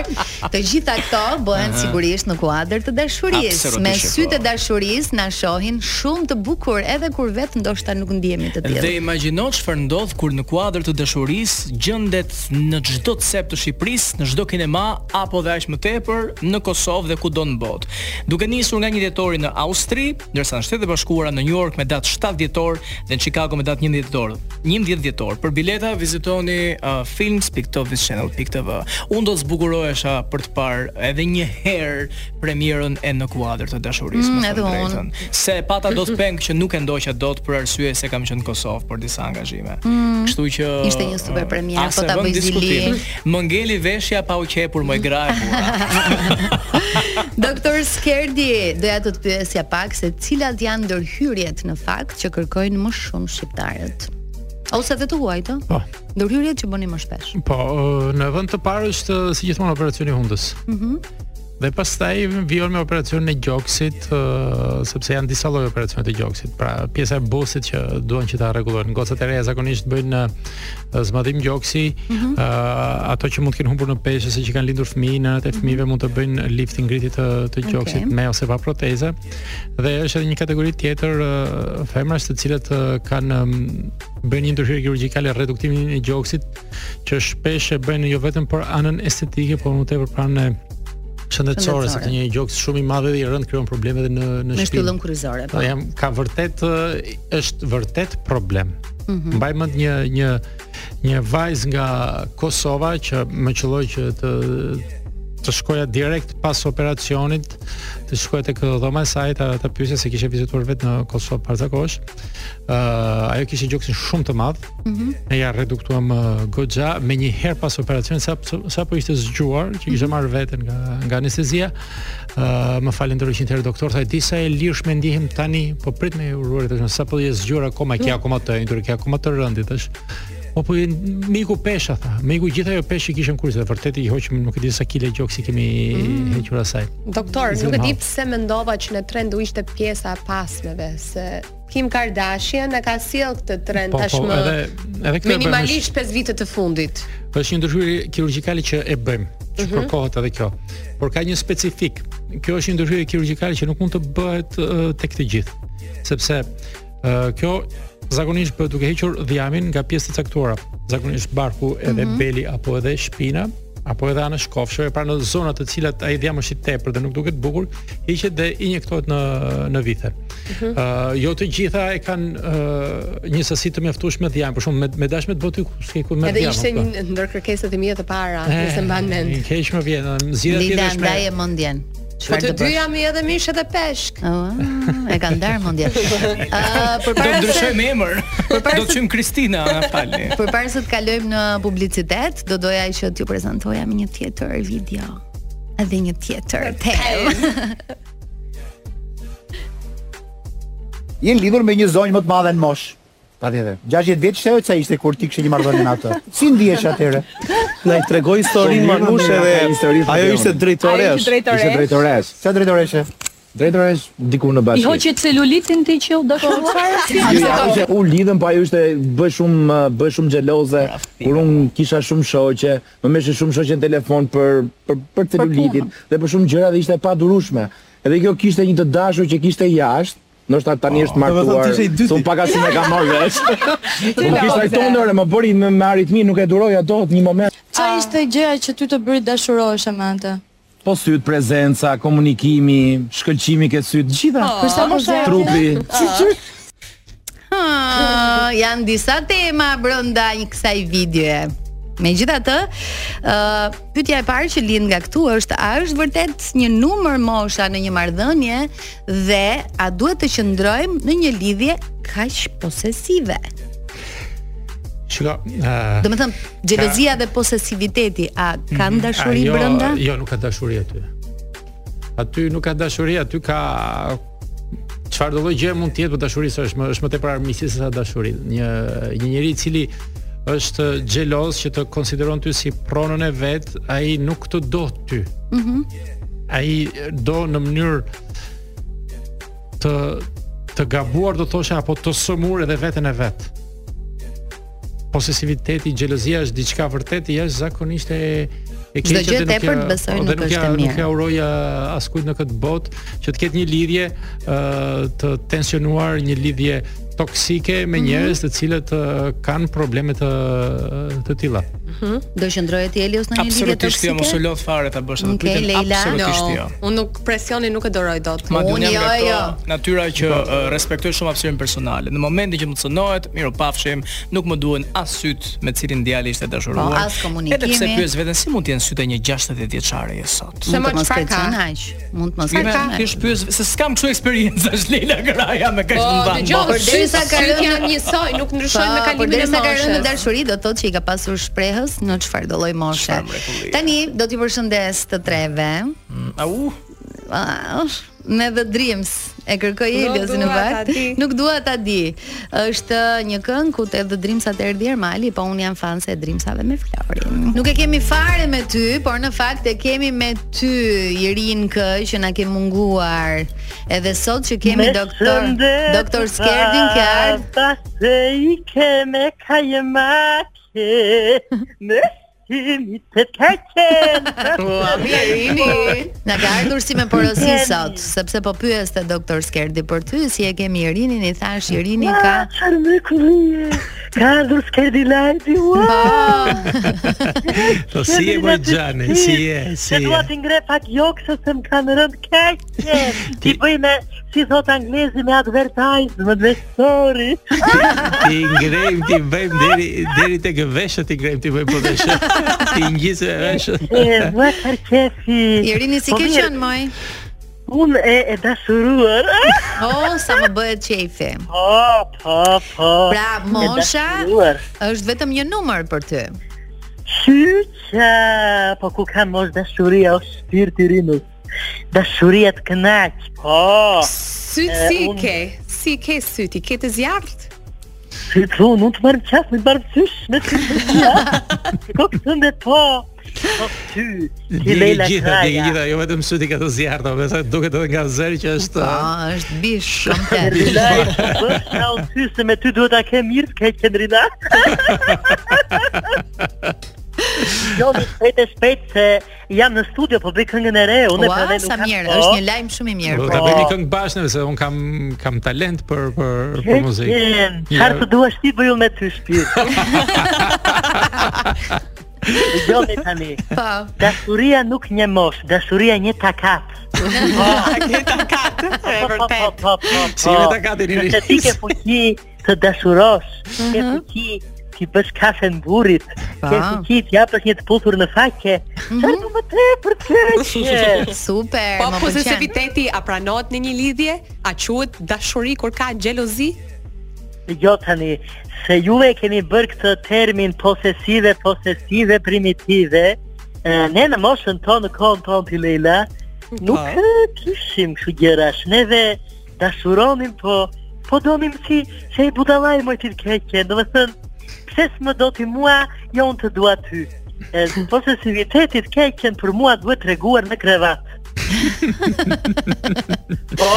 Speaker 2: të gjitha këto bëhen sigurisht në kuadër të dashurisë.
Speaker 4: Absolutisht
Speaker 2: Me
Speaker 4: që
Speaker 2: sy
Speaker 4: po.
Speaker 2: të dashurisë na shohin shumë të bukur edhe kur vetë ndoshta nuk ndihemi të tillë.
Speaker 4: Dhe imagjino çfarë ndodh kur në kuadër të dashurisë gjendet në çdo cep të Shqipërisë, në çdo kinema apo dhe aq më tepër në Kosovë dhe kudo në botë. Duke nisur nga 1 dhjetori në Austri, ndërsa në Shtetet e Bashkuara në New York me datë 7 dhjetor dhe në Chicago me datë 1 dhjetor. 11 dhjetor. Për bileta vizitoni uh, films.tovichannel.tv. Unë do të zbukurohesha për të parë edhe një herë premierën e në kuadër të dashurisë.
Speaker 2: Mm,
Speaker 4: më
Speaker 2: edhe
Speaker 4: thënë
Speaker 2: unë.
Speaker 4: drejtën. Se e pata do të peng që nuk e ndoqja dot për arsye se kam qenë në Kosovë për disa angazhime. Kështu që
Speaker 2: Mm. Ishte një super premierë,
Speaker 4: a,
Speaker 2: po
Speaker 4: se
Speaker 2: ta
Speaker 4: vëm
Speaker 2: bëj zili.
Speaker 4: diskutim. Më ngeli veshja pa u qepur më e gra e bura.
Speaker 2: Doktor Skerdi, doja të të pyesja pak se cilat janë ndërhyrjet në fakt që kërkojnë më shumë shqiptarët. Ose dhe të huajtë?
Speaker 6: Po.
Speaker 2: Ndërhyrjet që bëni më shpesh.
Speaker 6: Po, ë, në vend të parë është ë, si gjithmonë operacioni i hundës. Mhm. Dhe pastaj vjen me operacionin e gjoksit, ë, sepse janë disa lloje operacione të gjoksit. Pra, pjesa e busit që duan që ta rregullojnë. Gocat e reja zakonisht bëjnë ë, zmadhim gjoksi, ë, ato që mund të kenë humbur në peshë se që kanë lindur fëmijë, nënat e fëmijëve mund të bëjnë lifting ngritje të, të gjoksit
Speaker 2: Okej.
Speaker 6: me ose pa proteza. Dhe është edhe një kategori tjetër ë, femrash të cilët ë, kanë ëm, bëjnë një ndërhyrje kirurgjikale reduktimin e gjoksit që shpesh e bëjnë jo vetëm për anën estetike, por më tepër për anën e çfarë shëndetësore
Speaker 2: Shëndetësore.
Speaker 6: se të një gjoks shumë i madh dhe i rënd krijon probleme edhe në në
Speaker 2: Me
Speaker 6: shpinë.
Speaker 2: shtyllën kryzore.
Speaker 6: Po jam ka vërtet ë, është vërtet problem.
Speaker 2: Mhm.
Speaker 6: Mbaj mend një një një vajzë nga Kosova që më qelloi që të të shkoja direkt pas operacionit, të shkoja tek dhoma e saj, ta, ta pyesja se kishte vizituar vetë në Kosovë para kohësh. Ë ajo kishte gjoksin shumë të madh. Mm Ne ja reduktuam ë, goxha me një herë pas operacionit sa sapo ishte zgjuar, që kishte marrë veten nga nga anestezia. Ë më falenderoj që një herë doktor tha disa e lirshme ndihem tani, po prit me uruar tash sapo po je zgjuar akoma kja akoma të ëndër, kja akoma të rëndit tash. Po po miku pesha tha, miku gjithë ajo peshë që kishim kurse, vërtet i hoqëm nuk e di sa kile gjoksi kemi
Speaker 5: Mm.
Speaker 6: hequr asaj.
Speaker 5: Doktor,
Speaker 6: Zem
Speaker 5: nuk e di
Speaker 6: hap.
Speaker 5: pse mendova që në trend u ishte pjesa e pasmeve, se Kim Kardashian e ka sjell këtë trend
Speaker 6: Po, po,
Speaker 5: tashmë.
Speaker 6: edhe edhe këtë e bëjmë
Speaker 5: minimalisht 5 vite të fundit.
Speaker 6: është një ndryshyrje kirurgjikale që e bëjmë, që
Speaker 5: Mhm.
Speaker 6: kërkohet edhe kjo. Por ka një specifik. Kjo është një ndryshyrje kirurgjikale që nuk mund të bëhet uh, tek të gjithë, sepse uh, kjo zakonisht bëhet duke hequr dhjamin nga pjesë të caktuara. Zakonisht barku edhe
Speaker 5: Mhm.
Speaker 6: beli apo edhe shpina apo edhe anë shkofshëve, pra në zonat të cilat ai dhjam është i tepër dhe nuk duket bukur, hiqet dhe injektohet në në vithe.
Speaker 5: Mhm.
Speaker 6: Ë jo të gjitha e kanë uh, një sasi të mjaftueshme dhjam, për shembull me me dashme të boty ku s'ke ku me dhjam.
Speaker 5: Edhe ishte
Speaker 6: kupton?
Speaker 5: një ndër kërkesat e mia të para, nëse mban
Speaker 6: Në
Speaker 5: mend.
Speaker 6: keq më vjen, ëh, zgjidhja
Speaker 2: Lida
Speaker 6: tjetër është me.
Speaker 2: ndaje mendjen.
Speaker 5: Po
Speaker 2: Çfarë
Speaker 5: të
Speaker 2: të bësh?
Speaker 5: dyja mi edhe mish edhe peshk.
Speaker 2: Ua, e ka ndar mendjen. Ë,
Speaker 4: Do
Speaker 2: përpara se
Speaker 4: ndryshojmë emër. Do të qymë Kristina Anapali.
Speaker 2: përpara se të kalojmë në publicitet, do doja që t'ju prezantoja me një tjetër video. Edhe një tjetër temë.
Speaker 10: Jenë lidhur me një zonjë më të madhe në mosh. Patjetër. 60 vjeç ajo sa ishte kur ti kishe një marrëdhënie me atë. Si ndihesh Po, atëherë?
Speaker 7: Na i tregoi historinë Marnush edhe ajo ishte drejtore.
Speaker 8: Ajo ishte drejtore.
Speaker 7: Ishte drejtores.
Speaker 10: Sa drejtoreshe?
Speaker 7: Drejtores diku në bashki.
Speaker 8: celulitin ti që dashur.
Speaker 7: Jo, ajo ishte- u lidhëm, po ajo ishte bëj shumë bëj shumë xheloze. Kur un kisha shumë shoqe, më mëshë shumë shoqe në telefon për për për celulitin dhe për shumë gjëra dhe ishte e padurueshme. Edhe kjo kishte një të dashur që kishte jashtë, ndoshta tani është martuar. Son pak asim e kam marrë vesh. Nuk kishte tonë, më bëri me, me aritmi, nuk e duroj ato në një moment.
Speaker 8: Çfarë ishte gjëja që ty të bëri dashurohesh me atë?
Speaker 7: Po syt, prezenca, komunikimi, shkëlqimi ke syt, gjitha.
Speaker 8: Për sa mos e
Speaker 7: Trupi.
Speaker 2: Ah, janë disa tema brenda një kësaj videoje. Megjithatë, ë pyetja e parë që lind nga këtu është a është vërtet një numër mosha në një marrëdhënie dhe a duhet të qëndrojmë në një lidhje kaq posesive?
Speaker 6: Shiko, ëh,
Speaker 2: Do të them, xhelozia dhe posesiviteti a kanë dashuri
Speaker 6: ajo-
Speaker 2: brenda?
Speaker 6: Jo, nuk ka dashuri aty. Aty nuk ka dashuri, aty ka çfarë do lloj gjë mund të jetë, por dashuria është më është më tepër armiqësi se sa dashuri. Një një njerëz i cili është xheloz që të konsideron ty si pronën e vet, ai nuk të do ty. Mhm. ai do në mënyrë të të gabuar do thosha apo të sëmur edhe veten e vet. Posesiviteti, xhelozia është diçka vërtet i jashtëzakonisht e e
Speaker 2: Çdo
Speaker 6: keqe
Speaker 2: gjë
Speaker 6: dhe nuk
Speaker 2: tepër
Speaker 6: ja-
Speaker 2: të besoj
Speaker 6: dhe
Speaker 2: nuk është
Speaker 6: ja-
Speaker 2: e mirë.
Speaker 6: Nuk ja uroj uh, askujt në këtë botë që të ketë një lidhje uh, të tensionuar, një lidhje toksike
Speaker 2: Mhm.
Speaker 6: me njerëz të cilët uh, kanë probleme të të tilla.
Speaker 2: Do qëndrohet i Elios në një lidhje
Speaker 4: Absolutisht jo, mos u
Speaker 2: toksike?
Speaker 4: lot fare ta bësh atë
Speaker 2: Okej,
Speaker 4: pyetjen.
Speaker 2: Leila.
Speaker 4: Absolutisht jo.
Speaker 5: No, unë nuk presionin nuk e doroj dot.
Speaker 4: Ma
Speaker 2: Unë
Speaker 4: jam
Speaker 2: jo,
Speaker 4: nga këto
Speaker 2: jo.
Speaker 4: natyra që uh, respektoj shumë hapësirën personale. Në momentin që më cënohet, mirë pafshim, nuk më duhen as syt me cilin djali ishte dashuruar.
Speaker 2: Po, as komunikimi.
Speaker 4: Edhe pse pyes veten si mund të jenë sytë e një 60 vjeçare je sot.
Speaker 5: Se
Speaker 2: Mund
Speaker 5: më
Speaker 2: të mos
Speaker 5: çfarë ka?
Speaker 2: kërcon aq. Mund të mos
Speaker 4: Mirë,
Speaker 2: kërcon
Speaker 4: ti
Speaker 2: aq.
Speaker 4: shpyes se s'kam kështu eksperjenca Shlela Graja me kaq
Speaker 5: Po,
Speaker 4: të mban.
Speaker 5: dëgjoj,
Speaker 2: Por derisa
Speaker 5: sytë
Speaker 2: ka
Speaker 5: sytë
Speaker 2: rënë-
Speaker 5: janë njësoj, nuk ndryshojnë me
Speaker 2: Po, por
Speaker 5: kalimin e
Speaker 2: derisa ka rënë në
Speaker 5: moshës.
Speaker 2: dashuri, do të thotë që i ka pasur shprehës në çfarë do lloj moshe.
Speaker 4: Çfarë mrekullie.
Speaker 2: Tani do t'ju përshëndes të treve.
Speaker 4: Au,
Speaker 2: Ah, me The Dreams e kërkoi
Speaker 5: Nuk
Speaker 2: Eliosi
Speaker 5: dua
Speaker 2: në
Speaker 5: ta
Speaker 2: vakt.
Speaker 5: di.
Speaker 2: Nuk dua ta di. Është një këngë ku te The Dreams atë erdhi Ermali, po unë jam fan se e Dreamsave me Florin. Nuk e kemi fare me ty, por në fakt e kemi me ty Irin K që na ke munguar. Edhe sot që kemi doktor doktor Skerdin Kjar.
Speaker 1: Basta se i keme kajemake. Në
Speaker 11: gjymit të tërqen.
Speaker 2: Ua, Na ka ardhur si me porosi sot, sepse po pyeste doktor Skerdi për ty si e kemi Irinin, i thash Irini ka
Speaker 5: Ah,
Speaker 11: Qarë me kullie, ka ardhur s'kerdi lajti, ua!
Speaker 6: Po si e bërë Gjani, si e, si
Speaker 11: Se dua
Speaker 6: e.
Speaker 11: t'i ngre pak jokë, se se më kanë rëndë keqe. Ti bëj me, si thot anglezi, me advertisement, me story.
Speaker 6: Ti ngrejmë, ti bëjmë deri deri tek veshët ti ngrejmë, ti bëjmë po veshë. Ti ngjisë veshët.
Speaker 11: E, më tërqefi.
Speaker 2: Irini si
Speaker 11: Po
Speaker 2: ke
Speaker 11: mirë,
Speaker 2: qenë moj?
Speaker 11: Unë e, e dashuruar.
Speaker 2: O, sa më bëhet qefi.
Speaker 11: Po, po, po.
Speaker 5: Ah,
Speaker 2: Pra,
Speaker 11: E
Speaker 2: mosha
Speaker 11: dashuruar.
Speaker 2: është vetëm një numër për ty.
Speaker 11: Qyqa, uh, po ku ka mos dashuria, o shpirti rinus. Dashuria të kënaq, po.
Speaker 5: Sy
Speaker 11: E,
Speaker 5: si i
Speaker 11: unë-
Speaker 5: ke? Si i ke syti? Ke të zjarrt?
Speaker 11: Si të unë, unë të marrë qaf, me të barë sysh, me të të të Ko këtë ndë po, po ty, ti
Speaker 6: Djegi
Speaker 11: lejla
Speaker 6: gjitha, djegi
Speaker 11: kraja.
Speaker 6: gjitha, jo vetëm syti ka të zjarta, me sa duket edhe nga zëri që është
Speaker 2: Po, është bish komplet.
Speaker 11: Rilaj, bësh ka unë sy, se me ty duhet a ke mirë, ke qenë rila. Jo, mi shpejt e shpejt, se jam në studio, po bëj këngën e re, unë e
Speaker 2: Ua,
Speaker 11: përve
Speaker 2: sa mirë,
Speaker 11: po.
Speaker 2: është një lajm shumë i
Speaker 6: eh,
Speaker 2: mirë.
Speaker 6: Do ta
Speaker 2: po.
Speaker 6: bëjmë një këngë bashkë se un kam kam talent për për për muzikë.
Speaker 11: Qen,
Speaker 6: Ja.
Speaker 11: Qarë të duash ti bëju me ty shpirt Gjoni tani
Speaker 2: Po.
Speaker 11: Dashuria nuk një mosh Dashuria një takat
Speaker 5: Ke ta katë? E vërtet.
Speaker 11: po, po,
Speaker 6: Si me takatin, Iri?
Speaker 11: Nëse ti ke fuqi të dashurosh Ke fuqi ti bësh kafe në burit Ke
Speaker 2: Pa.
Speaker 11: fuqi ti japësh një të puthur në faqe Qarë të më te për keqe
Speaker 2: Super,
Speaker 5: Po
Speaker 2: më pëlqen.
Speaker 5: pozitiviteti a pranohet në një lidhje? A quhet dashuri kur ka xhelozi?
Speaker 11: Jo tani, se juve e keni bërë këtë termin posesive, posesive, primitive, e, ne në moshën tonë, në kohën tonë t'i lejla, nuk
Speaker 5: Po.
Speaker 11: e, kishim kështu gjerash, neve dashuronim, po, po donim si, se i budalaj moj t'i keqe, do me thënë, pse s'më do t'i mua, jo unë të dua ty. E, posesivitetit keqen për mua duhet të reguar në krevat. Po,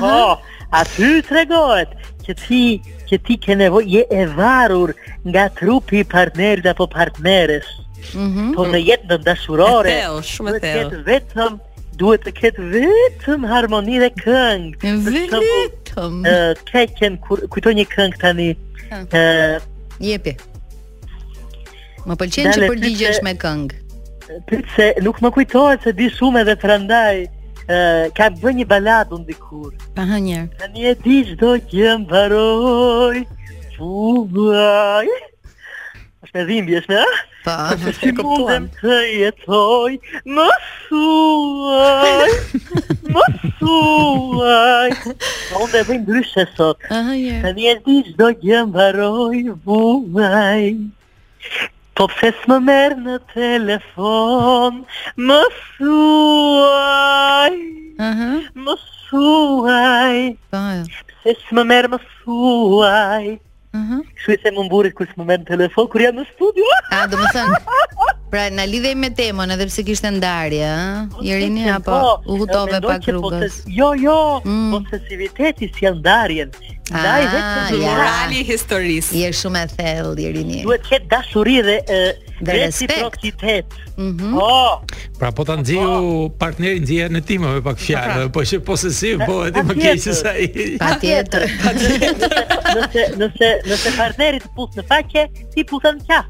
Speaker 11: po, aty të regohet që ti, që ti ke nevoj, je e varur nga trupi i partnerit apo partneres,
Speaker 2: Mhm.
Speaker 11: po në jetë në dashurore,
Speaker 5: E thellë, shumë e
Speaker 11: duhet të
Speaker 5: thellë.
Speaker 11: ketë vetëm, duhet të ketë vetëm harmoni dhe këngë. Për shembull,
Speaker 2: Vetëm.
Speaker 5: Eh.
Speaker 11: ë, Keqen, kur- kujtoj një këngë tani,
Speaker 2: Ha.
Speaker 11: ë,
Speaker 2: Jepi. Më pëlqen që
Speaker 11: Dale,
Speaker 2: përgjigjesh
Speaker 11: pyte-
Speaker 2: me këngë.
Speaker 11: Pyet se nuk më kujtohet se di shumë edhe të randaj, ka bërë një baladë unë dikur.
Speaker 2: Pa hënë njerë.
Speaker 11: Tani e di çdo gjë më varoj. Fuaj. Është me dhimbje, është me, a?
Speaker 2: Po,
Speaker 11: Si mundem të jetoj Më suaj Më suaj Pa unë dhe bëjmë ndryshe sot
Speaker 2: pa hënë njerë.
Speaker 11: Tani e di çdo gjë më varoj Vuaj Po pse s'më merr në telefon Më suaj
Speaker 2: Aha,
Speaker 11: Më suaj
Speaker 2: po.
Speaker 11: Pse s'më merr më suaj
Speaker 2: Aha.
Speaker 11: Kështu i se më mburit kur s'më merr në telefon Kur jam në studio
Speaker 2: A, do më thënë, pra na lidhej me temën edhe pse kishte ndarje, ë? Irini
Speaker 11: Po,
Speaker 2: apo u hutove
Speaker 11: mendoj
Speaker 2: pak
Speaker 11: që
Speaker 2: rrugës.
Speaker 11: poses- Jo, jo,
Speaker 2: Mm.
Speaker 11: posesiviteti si janë ndarjen. Ndaj
Speaker 2: Ah,
Speaker 11: vetëm
Speaker 2: ja.
Speaker 11: ja.
Speaker 5: Morali i historisë.
Speaker 2: Je shumë e thellë Irini.
Speaker 11: duhet të ketë dashuri dhe e,
Speaker 2: Dhe respekt.
Speaker 11: reciprocitet.
Speaker 2: Mhm.
Speaker 11: Po.
Speaker 6: Pra po ta nxiu partnerin nxjehen në timë me pak fjalë, po që posesiv po edhe më keq se sa i.
Speaker 2: Patjetër.
Speaker 11: Nëse nëse nëse partneri të pus në faqe, ti pusën qa.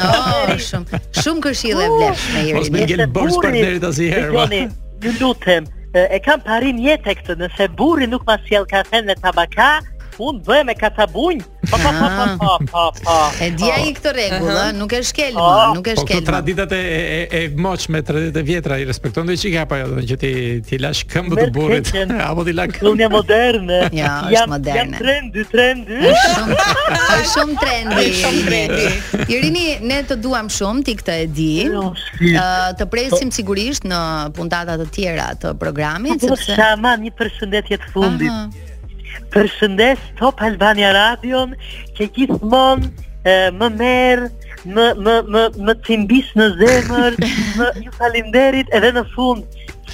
Speaker 2: Oh, shumë shumë këshille
Speaker 11: Oh,
Speaker 2: vlefshme
Speaker 6: Mos
Speaker 2: Irini.
Speaker 6: më ngel borx partnerit asnjëherë. ma.
Speaker 11: Dëgjoni, ju lutem, e, e kam parim jetë e këtë, nëse burri nuk ma sjell kafen dhe tabaka, unë bëhem me katabunj. Po po po po po po. po.
Speaker 2: E di ai këtë rregull, ë, nuk e shkel më,
Speaker 11: Oh.
Speaker 2: nuk e
Speaker 6: Oh. Po këto
Speaker 2: shkel. më.
Speaker 6: traditat e e e, e moçme, traditat e vjetra i respekton dhe çika apo jo, do të thonë që ti ti lash këmbët e
Speaker 11: Merr
Speaker 6: burrit
Speaker 11: keqen.
Speaker 6: apo ti la këmbë.
Speaker 11: Unë jam moderne.
Speaker 2: Ja, është
Speaker 11: jam, Jam
Speaker 2: moderne.
Speaker 11: trendy, trendy.
Speaker 2: Është shumë është shumë trendy.
Speaker 5: Është shumë trendy.
Speaker 2: Irini, ne të duam shumë, ti këtë e di.
Speaker 11: Jo, shpirt.
Speaker 2: Ë, të presim sigurisht në puntata të tjera të programit
Speaker 11: Po
Speaker 2: sepse
Speaker 11: shaman, një përshëndetje të fundit.
Speaker 2: Aha.
Speaker 11: Përshëndes Top Albania Radion që gjithmonë e, më merr, më më më më cimbis në zemër, më ju falenderit edhe në fund.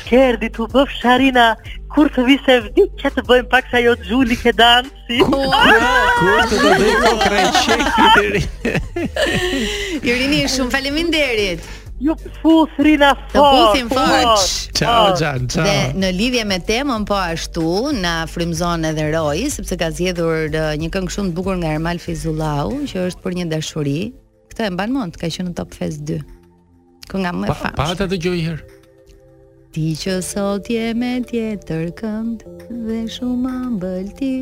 Speaker 11: Skerdi tu bëf Sharina kur të vi se vdik që të bëjmë pak sa jo Xhuli ke danë si.
Speaker 4: Kur të të bëj kokra e qefi
Speaker 2: Irini, shumë faleminderit.
Speaker 11: Ju futh rina fort.
Speaker 2: Të futhim
Speaker 11: po.
Speaker 2: fort.
Speaker 6: Ciao Xhan, ciao.
Speaker 2: Dhe në lidhje me temën po ashtu, na frymzon edhe Roy, sepse ka zgjedhur uh, një këngë shumë të bukur nga Ermal Fizullau, që është për një dashuri. Këtë e mban mend, ka qenë në Top Fest 2. Kënga më e
Speaker 6: Pa, pa
Speaker 2: famshme.
Speaker 6: ta dëgjoj një herë.
Speaker 2: Ti që sot je me tjetër kënd dhe shumë ambël ti.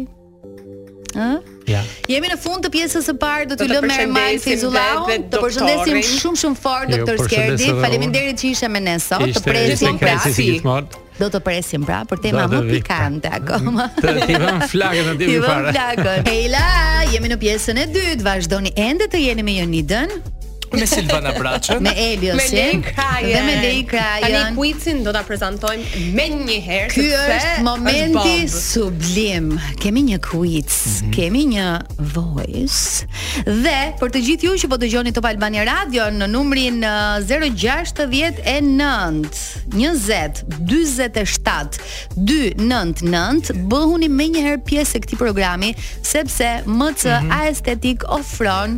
Speaker 2: Ë?
Speaker 6: Ja.
Speaker 2: Jemi në fund të pjesës së parë, do
Speaker 5: Do
Speaker 2: t'ju
Speaker 5: të
Speaker 2: lëmë Ermal
Speaker 5: përshëndesim
Speaker 2: Fizullau.
Speaker 5: dhe- dhe
Speaker 2: Të përshëndesim
Speaker 5: doktorin.
Speaker 2: shumë shumë fort
Speaker 6: Jo,
Speaker 2: doktor
Speaker 6: përshëndes
Speaker 2: Skerdi.
Speaker 6: edhe unë.
Speaker 2: Faleminderit që ishe me ne sot. Të
Speaker 6: Ishte ishte
Speaker 2: presim pra.
Speaker 6: krejtë si gjithmonë.
Speaker 2: Do të presim pra për tema
Speaker 6: Do
Speaker 2: më
Speaker 6: të vi, pra.
Speaker 2: pikante akoma.
Speaker 6: Të ti vëm flakën aty
Speaker 2: Ti
Speaker 6: më
Speaker 2: vëm
Speaker 6: parë.
Speaker 2: plakën. Hejla, jemi në pjesën e dytë. Vazhdoni ende të jeni me Jonidën,
Speaker 4: Me Silvana Braçën
Speaker 2: me Eliosin Jo, dhe me Lej
Speaker 5: Tani
Speaker 2: Krajën.
Speaker 5: kuicin do ta prezantojmë me një herë
Speaker 2: Ky
Speaker 5: sepse
Speaker 2: është momenti
Speaker 5: bomb.
Speaker 2: sublim. Kemi një quiz, kemi një voice dhe për të gjithë ju që po dëgjoni Top Albania Radio në numrin eh, 069 20 47 299 bëhuni më një herë pjesë e këtij programi sepse MC Aesthetic ofron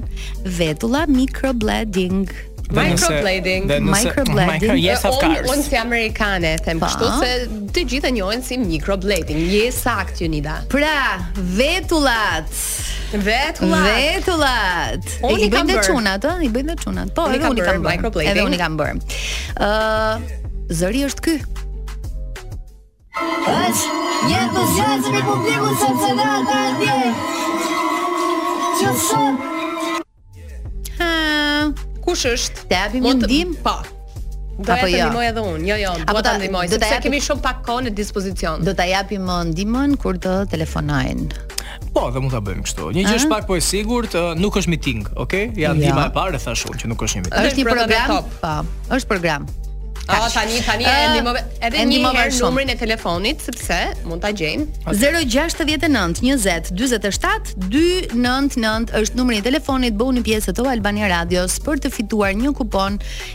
Speaker 2: vetulla microblading.
Speaker 4: Dhe nëse-
Speaker 5: Microblading.
Speaker 4: dhe nëse-
Speaker 2: Microblading.
Speaker 4: Micro- Yes, of
Speaker 5: Unë un
Speaker 4: course.
Speaker 5: si amerikane them
Speaker 2: Pa.
Speaker 5: kështu se të gjithë e njohin si microblading. Je sakt Unida.
Speaker 2: Pra, vetullat.
Speaker 5: Vetulla.
Speaker 2: Vetullat.
Speaker 5: Unë
Speaker 2: I
Speaker 5: i kam
Speaker 2: bëjnë dhe
Speaker 5: bërë.
Speaker 2: çunat, ë? I bëjnë dhe çunat. Po,
Speaker 5: Unë i
Speaker 2: edhe
Speaker 5: kam
Speaker 2: unë i kam
Speaker 5: bërë
Speaker 2: bërë.
Speaker 5: microblading.
Speaker 2: Edhe unë i kam bërë. Ë, zëri është ky. Ha,
Speaker 5: Kush është?
Speaker 2: Të japim
Speaker 5: Mund
Speaker 2: një
Speaker 5: të-
Speaker 2: ndim?
Speaker 5: Po. Do
Speaker 2: Apo
Speaker 5: e të
Speaker 2: jo?
Speaker 5: ndihmoj edhe unë. Jo, jo,
Speaker 2: Apo
Speaker 5: do ta
Speaker 2: ta-
Speaker 5: ndihmoj
Speaker 2: do ta
Speaker 5: sepse
Speaker 2: japi-
Speaker 5: kemi shumë pak kohë në dispozicion.
Speaker 2: do ta japim ë, ndihmën kur të telefonojnë.
Speaker 4: Po, dhe mund ta bëjmë kështu. Një gjë është pak po e sigurt, ë, nuk është miting, okay? Ja
Speaker 2: Ja.
Speaker 4: ndihma e parë e thash unë që nuk është një miting.
Speaker 5: Dhe
Speaker 2: Është një
Speaker 5: program
Speaker 2: program?
Speaker 5: top.
Speaker 2: Po, është program.
Speaker 5: Ah, tani tani e
Speaker 2: Ë,
Speaker 5: ndihmove
Speaker 2: e
Speaker 5: edhe një
Speaker 2: ndihmove
Speaker 5: herë
Speaker 2: shumë.
Speaker 5: numrin e telefonit sepse mund ta gjejmë.
Speaker 2: 069 20 47 299 është numri i telefonit bëuni pjesë të Albania Radios për të fituar një kupon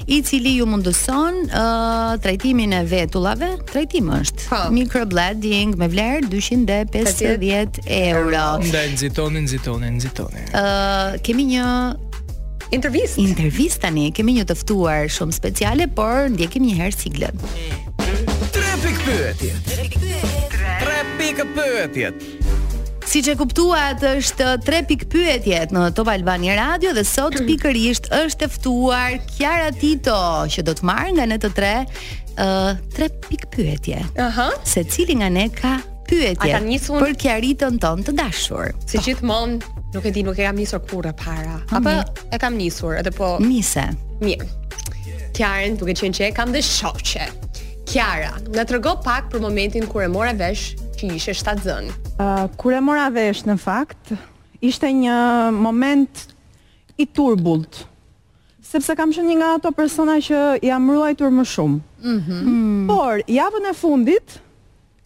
Speaker 2: i cili ju mundëson uh, trajtimin e vetullave, trajtim është
Speaker 5: Po.
Speaker 2: microblading me vlerë 250 euro.
Speaker 4: Ndaj nxitoni, nxitoni, nxitoni.
Speaker 2: Uh, kemi një
Speaker 5: Intervistë.
Speaker 2: intervistë tani, kemi një të ftuar shumë speciale, por ndjekim një herë siglën.
Speaker 4: Tre pikë pyetjet.
Speaker 2: Si që kuptuat është tre pikë pyetjet në Top Albani Radio dhe sot
Speaker 5: Mhm.
Speaker 2: pikërisht është e ftuar Kiara Tito që do të marrë nga ne të tre uh, tre pikë pyetje.
Speaker 5: Aha.
Speaker 2: Se cili nga ne ka pyetje
Speaker 5: A ka nisur?
Speaker 2: për Kiaritën tonë të dashur.
Speaker 5: Si gjithmonë, nuk e di, nuk e kam nisur kurrë para. Apo e kam nisur, edhe po
Speaker 2: Nise.
Speaker 5: mirë. Kiarën, duke qenë që e kam dhe shoqe. Kiara, na trego pak për momentin kur e mora vesh që ishe shtatzën.
Speaker 12: Uh, kur e mora vesh në fakt, ishte një moment i turbullt. Sepse kam qenë një nga ato persona që jam ruajtur më shumë. Hmm. Por javën e fundit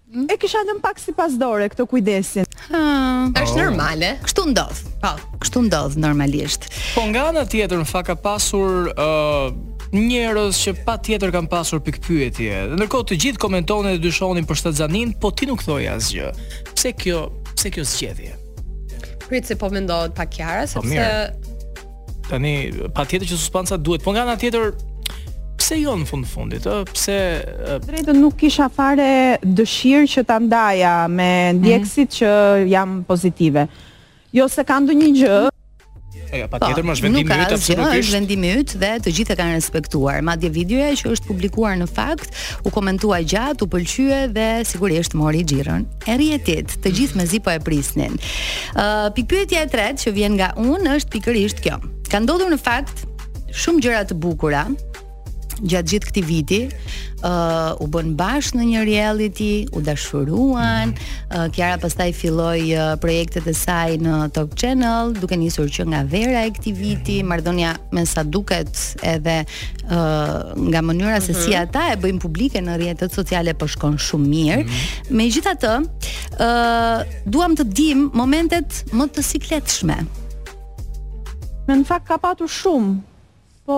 Speaker 12: e kisha lënë pak sipas dore këtë kujdesin.
Speaker 2: Hmm,
Speaker 5: Është normale?
Speaker 2: kështu ndodh.
Speaker 5: Po.
Speaker 2: Kështu ndodh normalisht.
Speaker 4: Po nga ana tjetër, në fakt ka pasur ë njerëz që patjetër kanë pasur pikë pyetje. Dhe Ndërkohë të gjithë komentonin dhe dyshonin për shtatzanin, po ti nuk thoj asgjë. Pse kjo, pse kjo zgjedhje?
Speaker 5: Prit se po mendohet pa Kiara sepse
Speaker 4: mirë. Tani patjetër që suspanca duhet, po nga ana tjetër pse jo në fund fundit, ë? Pse ë,
Speaker 12: Drejtën nuk kisha fare dëshirë që ta ndaja me ndjekësit që jam pozitive. Jo se ka ndonjë gjë,
Speaker 4: e,
Speaker 2: Po,
Speaker 4: patjetër më është vendimi
Speaker 2: nuk
Speaker 4: i
Speaker 2: ka
Speaker 4: yt
Speaker 2: asgjë, Është
Speaker 4: absolutisht.
Speaker 2: vendimi yt dhe të gjithë e kanë respektuar. Madje videoja që është publikuar në fakt u komentua gjatë, u pëlqye dhe sigurisht mori xhirën e rrjetit. Të gjithë mezi po e prisnin. Ë pikpyetja e tretë që vjen nga unë është pikërisht kjo. Ka ndodhur në fakt shumë gjëra të bukura gjatë gjithë këtij viti, uh, u bën bash në një reality, u dashuruan, uh, Kiara pastaj filloi uh, projektet e saj në Top Channel, duke nisur që nga vera e këtij viti, marrëdhënia me sa duket edhe uh, nga mënyra se si
Speaker 4: Mhm.
Speaker 2: ata e bëjnë publike në rrjetet sociale po shkon shumë mirë.
Speaker 4: Mhm.
Speaker 2: Megjithatë, uh, duam të dim momentet më të sikletshme.
Speaker 12: Me në fakt ka patur shumë, po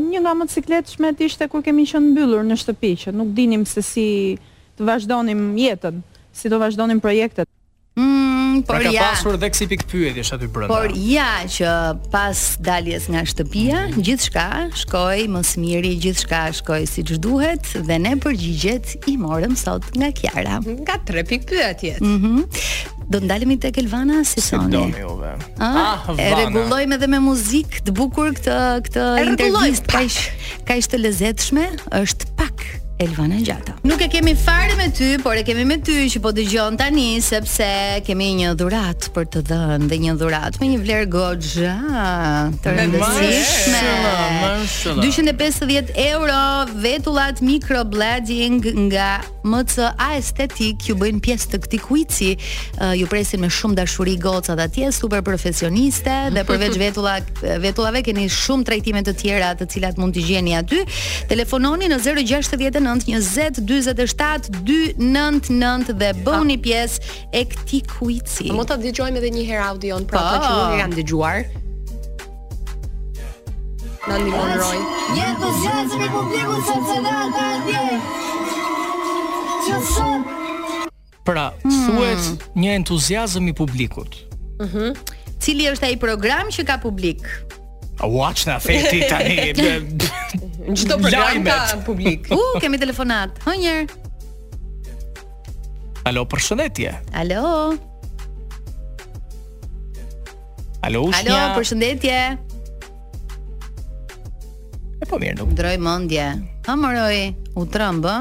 Speaker 12: një nga më të cikletëshmet ishte kur kemi qenë mbyllur në shtëpi, që nuk dinim se si të vazhdonim jetën, si do vazhdonim projektet.
Speaker 2: Mm,
Speaker 4: Pra ka pasur edhe kësi pikë pyetjesh aty brenda.
Speaker 2: Por ja që pas daljes nga shtëpia, gjithçka shkoi më së miri, gjithçka shkoi siç duhet dhe ne përgjigjet i morëm sot nga Kiara.
Speaker 5: Nga tre pikë pyetjet.
Speaker 2: Mhm. Do ndalemi tek Elvana si soni.
Speaker 4: doni juve.
Speaker 2: Ah,
Speaker 4: Ah,
Speaker 2: e
Speaker 4: Vana.
Speaker 2: rregullojmë edhe me muzikë të bukur këtë këtë intervistë kaq kaq të lezetshme, është pak Elvana Gjata. Nuk e kemi fare me ty, por e kemi me ty që po dëgjon tani sepse kemi një dhuratë për të dhënë dhe një dhuratë me një vlerë goxha të
Speaker 1: Me
Speaker 2: rëndësishme.
Speaker 1: mashallah, mashallah.
Speaker 2: 250 euro vetullat microblading nga MC Aesthetic ju bëjnë pjesë të këtij kuici. Uh, ju presin me shumë dashuri gocat atje, super profesioniste dhe përveç vetulla vetullave keni shumë trajtime të tjera të cilat mund t'i gjeni aty. Telefononi në 069 20 47 299 dhe bëhuni pjesë e këtij kuici.
Speaker 5: Mund ta dëgjojmë edhe një herë audion pra
Speaker 2: Po.
Speaker 5: ato që nuk e kam dëgjuar. Na ndihmon Roy.
Speaker 1: Jetë sjellë me publikun sepse data atje. Që sot
Speaker 4: Pra,
Speaker 2: Mm.
Speaker 4: thuhet një entuziazëm i publikut.
Speaker 2: Mhm. Cili është ai program që ka publik?
Speaker 4: A watch na feti tani.
Speaker 5: Çdo program ka
Speaker 4: Lajmet.
Speaker 5: publik.
Speaker 2: U, kemi telefonat. Hënjer.
Speaker 4: Alo, përshëndetje.
Speaker 2: Alo.
Speaker 4: Alo, ushnja.
Speaker 2: Alo, përshëndetje.
Speaker 4: E po mirë, nuk.
Speaker 2: Ndroj mendje. Ha moroj, u trëmb, ë?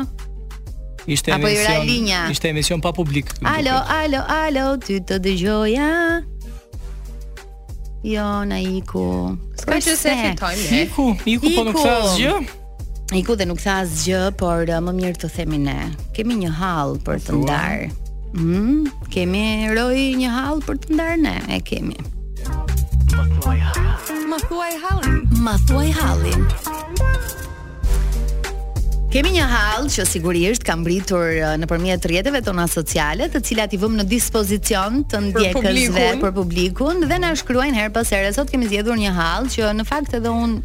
Speaker 4: Ishte
Speaker 2: Apo i ra
Speaker 4: emision.
Speaker 2: linja.
Speaker 4: Ishte emision pa publik.
Speaker 2: Alo, alo, alo, ty të dëgjoja. Jo, na iku.
Speaker 5: S'ka që se fitojmë ne.
Speaker 4: Iku, iku, po nuk tha asgjë.
Speaker 2: Iku dhe nuk tha asgjë, por uh, më mirë të themi ne. Kemi një hall për të ndarë. Mm, kemi roj një hall për të ndarë ne, e kemi.
Speaker 1: Ma thuaj hallin
Speaker 2: Ma thuaj hallin Kemi një hall që sigurisht ka mbritur eh, nëpërmjet rrjeteve tona sociale, të cilat i vëmë në dispozicion të ndjekësve
Speaker 1: publikun.
Speaker 2: për publikun dhe na shkruajnë her pas here. Sot kemi zgjedhur një hall që në fakt edhe un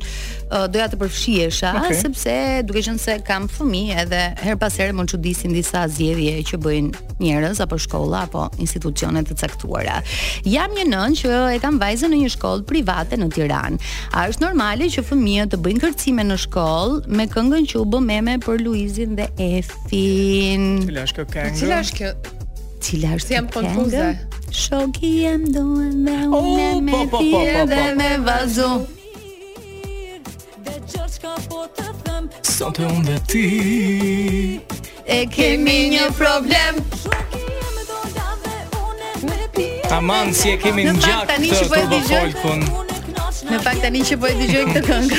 Speaker 2: doja të përfshihesha
Speaker 1: Okej.
Speaker 2: sepse duke qenë se kam fëmijë edhe her pas here më çudisin disa zgjedhje që bëjnë njerëz apo shkolla apo institucione të caktuara. Jam një nën që e kam vajzën në një shkollë private në Tiranë. A është normale që fëmijët të bëjnë kërcime në shkollë me këngën që u bë meme për Luizin dhe Efin?
Speaker 4: Cila është kjo këngë?
Speaker 5: Cila është kjo?
Speaker 2: Cila është
Speaker 5: Si jam
Speaker 2: kjo
Speaker 5: konfuze.
Speaker 2: këngë? Shoki jam duan dhe unë
Speaker 1: Oh,
Speaker 2: me
Speaker 1: po, po, po, po,
Speaker 2: thirë dhe
Speaker 1: po.
Speaker 2: me vazu
Speaker 1: Dhe qërë shka po të thëm
Speaker 4: Sot e unë dhe ti.
Speaker 2: E kemi një problem
Speaker 4: Taman si e kemi
Speaker 2: Në
Speaker 4: ngjak
Speaker 2: fakt tani
Speaker 4: këtë
Speaker 2: që po e
Speaker 4: turbo
Speaker 2: dëgjoj-
Speaker 4: folkun.
Speaker 2: Në fakt tani që po e dëgjoj këtë këngë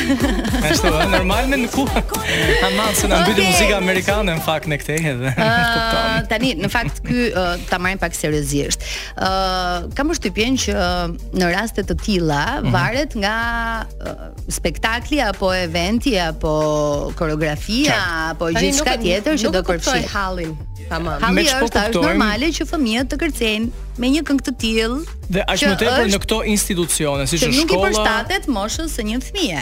Speaker 4: Ashtu, ë, normal me në ku. Taman se na mbyti
Speaker 2: Okej.
Speaker 4: muzika amerikane në fakt në këtë edhe.
Speaker 2: Uh, tani në fakt ky uh, ta marrim pak seriozisht. Ë uh, kam përshtypjen që uh, në raste të tilla varet nga uh, spektakli apo eventi apo koreografia apo
Speaker 5: Tani
Speaker 2: gjithçka
Speaker 5: nuk e-
Speaker 2: tepër
Speaker 5: nuk
Speaker 2: që
Speaker 5: e
Speaker 2: do
Speaker 5: kuptoj
Speaker 2: përfshihet.
Speaker 5: hallin. Tamam.
Speaker 2: Halli
Speaker 4: Me ç'po
Speaker 2: është, a është
Speaker 4: kuptojmë?
Speaker 2: normale që fëmijët të kërcejnë me një këngë të tillë
Speaker 4: Dhe aq
Speaker 2: që
Speaker 4: më tepër në
Speaker 2: është-
Speaker 4: këto institucione, siç
Speaker 2: që
Speaker 4: është
Speaker 2: nuk i
Speaker 4: shkolla.
Speaker 2: përshtatet moshës së një fëmije.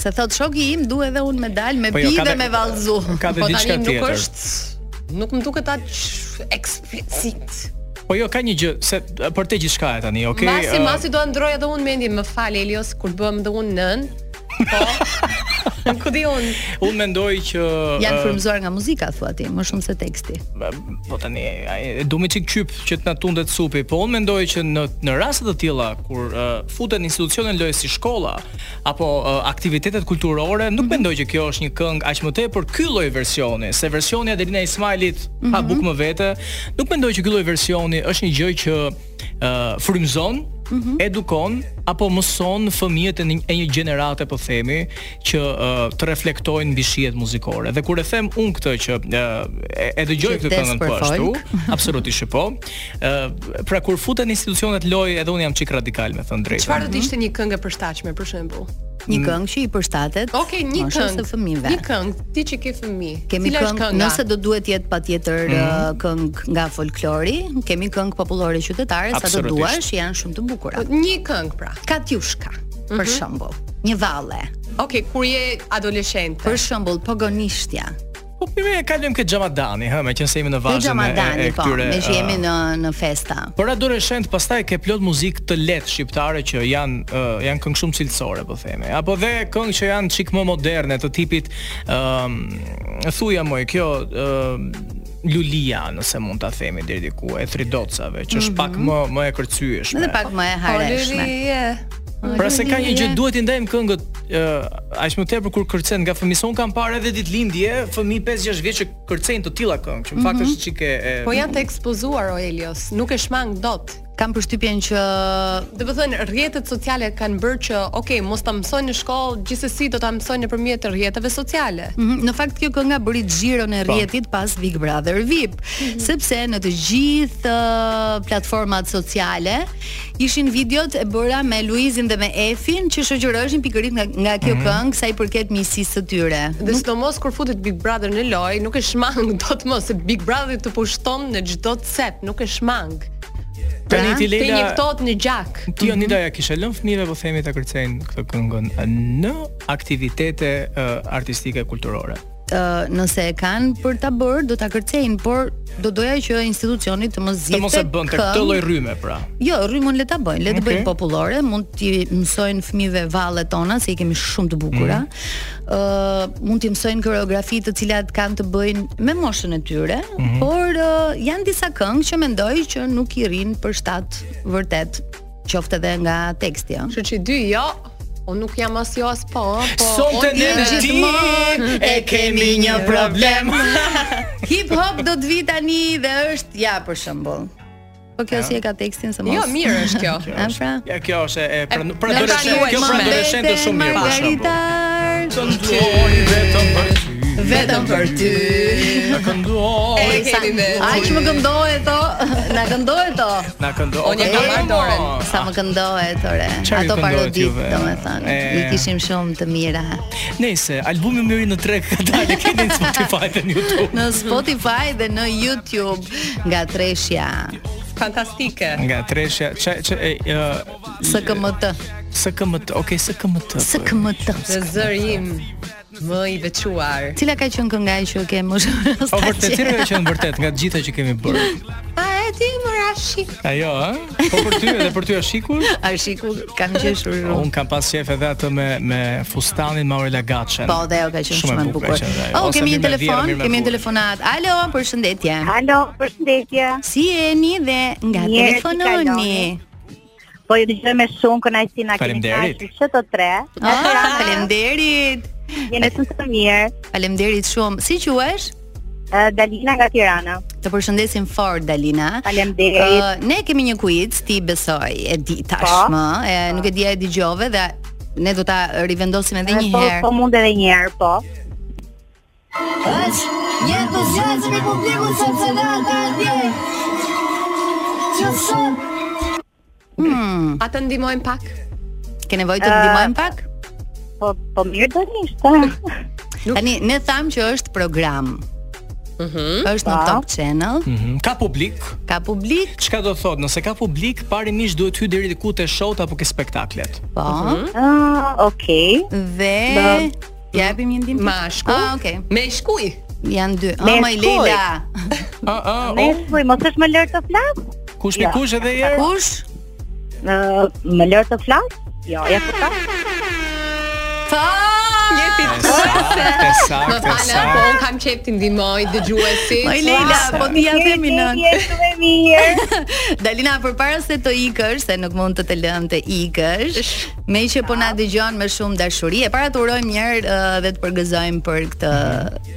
Speaker 2: Se thot shoki im duhet edhe unë me dal me
Speaker 4: Po
Speaker 2: pi
Speaker 4: jo, ka
Speaker 2: dhe
Speaker 4: dhe-
Speaker 2: me vallëzu.
Speaker 4: ka dhe
Speaker 5: Po
Speaker 4: diçka
Speaker 5: tani nuk
Speaker 4: tjetër.
Speaker 5: është nuk më duket aq eksplicit.
Speaker 4: Po jo, ka një gjë se ë, për te gjithçka e tani, okay?
Speaker 5: masi
Speaker 4: ë,
Speaker 5: masi do ndroj edhe unë mendjen, më fal Elios kur bëm dhe unë nën. Po. Ku di unë?
Speaker 4: Uh, Unë mendoj që uh,
Speaker 2: Janë
Speaker 4: ë,
Speaker 2: frymzuar nga muzika thua ti, më shumë se teksti.
Speaker 4: po tani ai do më çik qyp që të na tundet supi, po unë mendoj që në në raste të tilla kur uh, futen institucione lojë si shkolla apo uh, aktivitetet kulturore, nuk mendoj që kjo është një këngë aq më tepër ky lloj versioni, se versioni i Adelina Ismailit pa bukë më vete, nuk mendoj që ky lloj versioni është një gjë që uh, frymzon edukon apo mëson fëmijët e një, e një gjenerate po themi që uh, të reflektojnë mbi shijet muzikore. Dhe kur e them unë këtë që uh, e, e dëgjoj
Speaker 2: Që
Speaker 4: këtë
Speaker 2: vdes
Speaker 4: këngën
Speaker 2: për
Speaker 4: po ashtu,
Speaker 2: folk.
Speaker 4: absolutisht që po. Ë pra kur futen institucionet lojë edhe un jam çik radikal me thënë drejtën.
Speaker 5: Çfarë do të ishte një këngë e përshtatshme për shembull?
Speaker 2: Një
Speaker 4: Mm.
Speaker 2: këngë që i përshtatet.
Speaker 5: Okej, një
Speaker 2: moshës
Speaker 5: këngë.
Speaker 2: së fëmijëve.
Speaker 5: Një këngë, ti që ke fëmijë.
Speaker 2: Kemi
Speaker 5: cila është
Speaker 2: këngë,
Speaker 5: kënga?
Speaker 2: nëse do duhet të jetë patjetër
Speaker 5: Mhm.
Speaker 2: ë, këngë nga folklori, kemi këngë popullore qytetare sa do
Speaker 5: Absolutisht.
Speaker 2: duash, janë shumë të bukura.
Speaker 5: Një këngë pra.
Speaker 2: Katjushka, për
Speaker 5: Mhm.
Speaker 2: shembull, një valle.
Speaker 5: Okej, kur je adoleshente.
Speaker 2: Për shembull, pogonishtja.
Speaker 4: Po Ne kalojmë këtë Xhamadani, ha, meqense jemi në
Speaker 2: Dhe
Speaker 4: vazhdim e, e,
Speaker 2: Xhamadani
Speaker 4: e
Speaker 2: po,
Speaker 4: këtyre.
Speaker 2: me që jemi
Speaker 4: ë,
Speaker 2: në në festa.
Speaker 4: Por adoleshent pastaj ke plot muzikë të lehtë shqiptare që janë uh, janë këngë shumë cilësore, po themi. Apo dhe këngë që janë çik më moderne, të tipit ëm thuja më kjo ëm Lulia, nëse mund ta themi deri diku, e Thridocave, që është pak më më e kërcyeshme.
Speaker 2: Mhm. Edhe pak më e hareshme.
Speaker 4: Pra se ka një gjë duhet i ndajmë këngët uh, aq më tepër kur kërcen nga fëmijë. Son kam parë edhe ditëlindje fëmijë 5-6 vjeç që kërcejnë të tilla këngë, që në fakt
Speaker 5: Mhm.
Speaker 4: është çike e
Speaker 5: Po janë të ekspozuar o Elios, nuk e shmang dot.
Speaker 2: Kam përshtypjen që
Speaker 5: do të thënë rrjetet sociale kanë bërë që, okay, mos ta mësojnë në shkollë, gjithsesi do ta mësojnë nëpërmjet të rrjeteve sociale.
Speaker 2: Mhm, Në fakt kjo kënga bëri xhiron e
Speaker 5: Po.
Speaker 2: rrjetit pas Big Brother VIP,
Speaker 4: Mhm.
Speaker 2: sepse në të gjithë ë, platformat sociale ishin videot e bëra me Luizin dhe me Efin që shoqëroheshin pikërisht nga nga kjo
Speaker 5: Mhm.
Speaker 2: këngë sa i përket miqësisë së tyre.
Speaker 5: Dhe sidomos kur futet Big Brother në lojë, nuk e shmang dot më se Big Brother të pushton në çdo cep, nuk e shmang.
Speaker 4: Tani ti
Speaker 5: pra, Te Mhm.
Speaker 4: Leila
Speaker 5: njëftohet në gjak.
Speaker 4: Ti Anita ja kishe lënë fëmijëve po themi ta kërcejnë këtë këngën në aktivitete uh, artistike kulturore.
Speaker 2: Ë, Uh, nëse e kanë për ta bërë, do ta kërcejnë, por do doja që institucioni të mos
Speaker 4: Të
Speaker 2: zgjidhte.
Speaker 4: mos e bën të këtë
Speaker 2: këngë-
Speaker 4: lloj rryme pra.
Speaker 2: Jo, rrymën le ta bëjnë, le të
Speaker 4: Okej.
Speaker 2: bëjnë popullore, mund t'i mësojnë fëmijëve vallet tona se i kemi shumë të bukura. Ë, mund t'i mësojnë koreografi të cilat kanë të bëjnë me moshën e tyre,
Speaker 13: Mhm.
Speaker 2: por ë, janë disa këngë që mendoj që nuk i rrin për shtat vërtet, qoftë edhe nga teksti, ëh.
Speaker 5: Kështu që dy jo, unë nuk jam as jo as po, ëh, po.
Speaker 4: Sonte
Speaker 5: unë
Speaker 4: në
Speaker 5: jam gjithmonë
Speaker 4: ditë e kemi një problem.
Speaker 2: Hip hop do të vi tani dhe është ja për shembull. Po kjo si e ka tekstin se mos.
Speaker 5: Jo, mirë është kjo.
Speaker 2: A pra?
Speaker 4: Ja kjo është e pra pra
Speaker 2: Në
Speaker 4: adoleshent,
Speaker 2: tani
Speaker 4: kjo pra
Speaker 2: uaj,
Speaker 4: adoleshent është shumë mirë për shembull.
Speaker 2: Margaritar. Vetëm për ty.
Speaker 4: Na kënduoj.
Speaker 2: E kemi me. Ai që më këndohet to, na këndohet to.
Speaker 4: Na kënduoj.
Speaker 2: Unë e kam marrë dorën. Sa më këndohet ore.
Speaker 4: Çfarë ju
Speaker 2: Ato
Speaker 4: këndohet
Speaker 2: parodit,
Speaker 4: juve?
Speaker 2: domethënë.
Speaker 4: E.
Speaker 2: I kishim shumë të mira.
Speaker 4: Nëse albumi më i ri në treg ka dalë keni në Spotify dhe në YouTube.
Speaker 2: Në Spotify dhe në YouTube nga Treshja
Speaker 5: fantastike.
Speaker 4: Nga treshja, ç ç e ë,
Speaker 2: SKMT.
Speaker 4: SKMT, okay, SKMT. po.
Speaker 2: SKMT.
Speaker 5: Dhe zëri im më i veçuar.
Speaker 2: Cila ka qenë kënga që ke më shumë
Speaker 4: Po vërtet cilë ka qenë vërtet nga të gjitha që kemi bërë.
Speaker 2: A e ti më rashi?
Speaker 4: Ajo, ë? Po për ty edhe për ty është shikur?
Speaker 2: Është shikur, kam qeshur.
Speaker 4: Un kam pas shef edhe atë me me fustanin me Aurela Gaçen.
Speaker 2: Po, dhe ajo ka qenë shumë e bukur. Oh,
Speaker 4: Ose
Speaker 2: kemi një
Speaker 4: Mirë me Vjera,
Speaker 2: telefon,
Speaker 4: Mirë me
Speaker 2: kemi një
Speaker 4: Bukur.
Speaker 2: telefonat. Alo, përshëndetje.
Speaker 13: Alo, përshëndetje.
Speaker 2: Si jeni dhe nga
Speaker 13: Mirë, si
Speaker 2: telefononi?
Speaker 13: kaloni? Po ju dëgjoj me shumë kënaqësi na keni
Speaker 2: Faleminderit.
Speaker 13: kënaqur që të tre.
Speaker 2: Ah, faleminderit.
Speaker 13: Jeni shumë të mirë.
Speaker 2: Faleminderit shumë. Si quhesh?
Speaker 13: Dalina nga Tirana.
Speaker 2: Të përshëndesim fort Dalina.
Speaker 13: Faleminderit.
Speaker 2: Ë, ne kemi një quiz, ti besoj, e di tashmë,
Speaker 13: Po.
Speaker 2: e nuk e dia e dëgjove dhe ne do ta rivendosim edhe një
Speaker 13: Po,
Speaker 2: herë.
Speaker 13: po mund edhe një herë, po.
Speaker 1: Është një
Speaker 2: po,
Speaker 1: entuziazëm i publikut sepse data atje. Që sot
Speaker 2: Mm.
Speaker 5: A të ndihmojmë pak?
Speaker 2: Ke nevojë të
Speaker 13: Ë,
Speaker 2: ndihmojmë pak?
Speaker 13: Po, po mirë do nishte.
Speaker 2: Tani ne tham që është program. Është në
Speaker 13: Po.
Speaker 2: Top Channel.
Speaker 4: Mhm. Ka publik.
Speaker 2: Ka publik.
Speaker 4: Çka do thotë, nëse ka publik, parimisht duhet hy deri diku te showt apo ke spektaklet.
Speaker 2: Po.
Speaker 13: Ah, okay.
Speaker 2: Dhe japim një ndihmë.
Speaker 5: Mashku.
Speaker 2: Ah, okay.
Speaker 5: Me shkuj.
Speaker 2: Janë dy.
Speaker 13: Me
Speaker 2: Oh, my
Speaker 13: shkuj.
Speaker 2: Leila.
Speaker 4: A a
Speaker 2: Oh.
Speaker 13: Ne shkuj, mos është më lërë të flas?
Speaker 4: kush
Speaker 13: Ja.
Speaker 4: me kush edhe një herë?
Speaker 2: Kush?
Speaker 13: Ë, Më lërë të flas? Jo, ja po ka.
Speaker 2: Po.
Speaker 5: Jepi
Speaker 4: Saktë, saktë,
Speaker 5: Më falë,
Speaker 4: saktë.
Speaker 5: po unë kam qep të ndihmoj dëgjuesit.
Speaker 2: Moj Leila, po ti ja themi nën.
Speaker 13: Shumë mirë.
Speaker 2: Dalina, përpara se të ikësh, se nuk mund të të lëm të ikësh, me që po na dëgjon me shumë dashuri, e para të urojmë një herë ë, dhe të përgëzojmë për këtë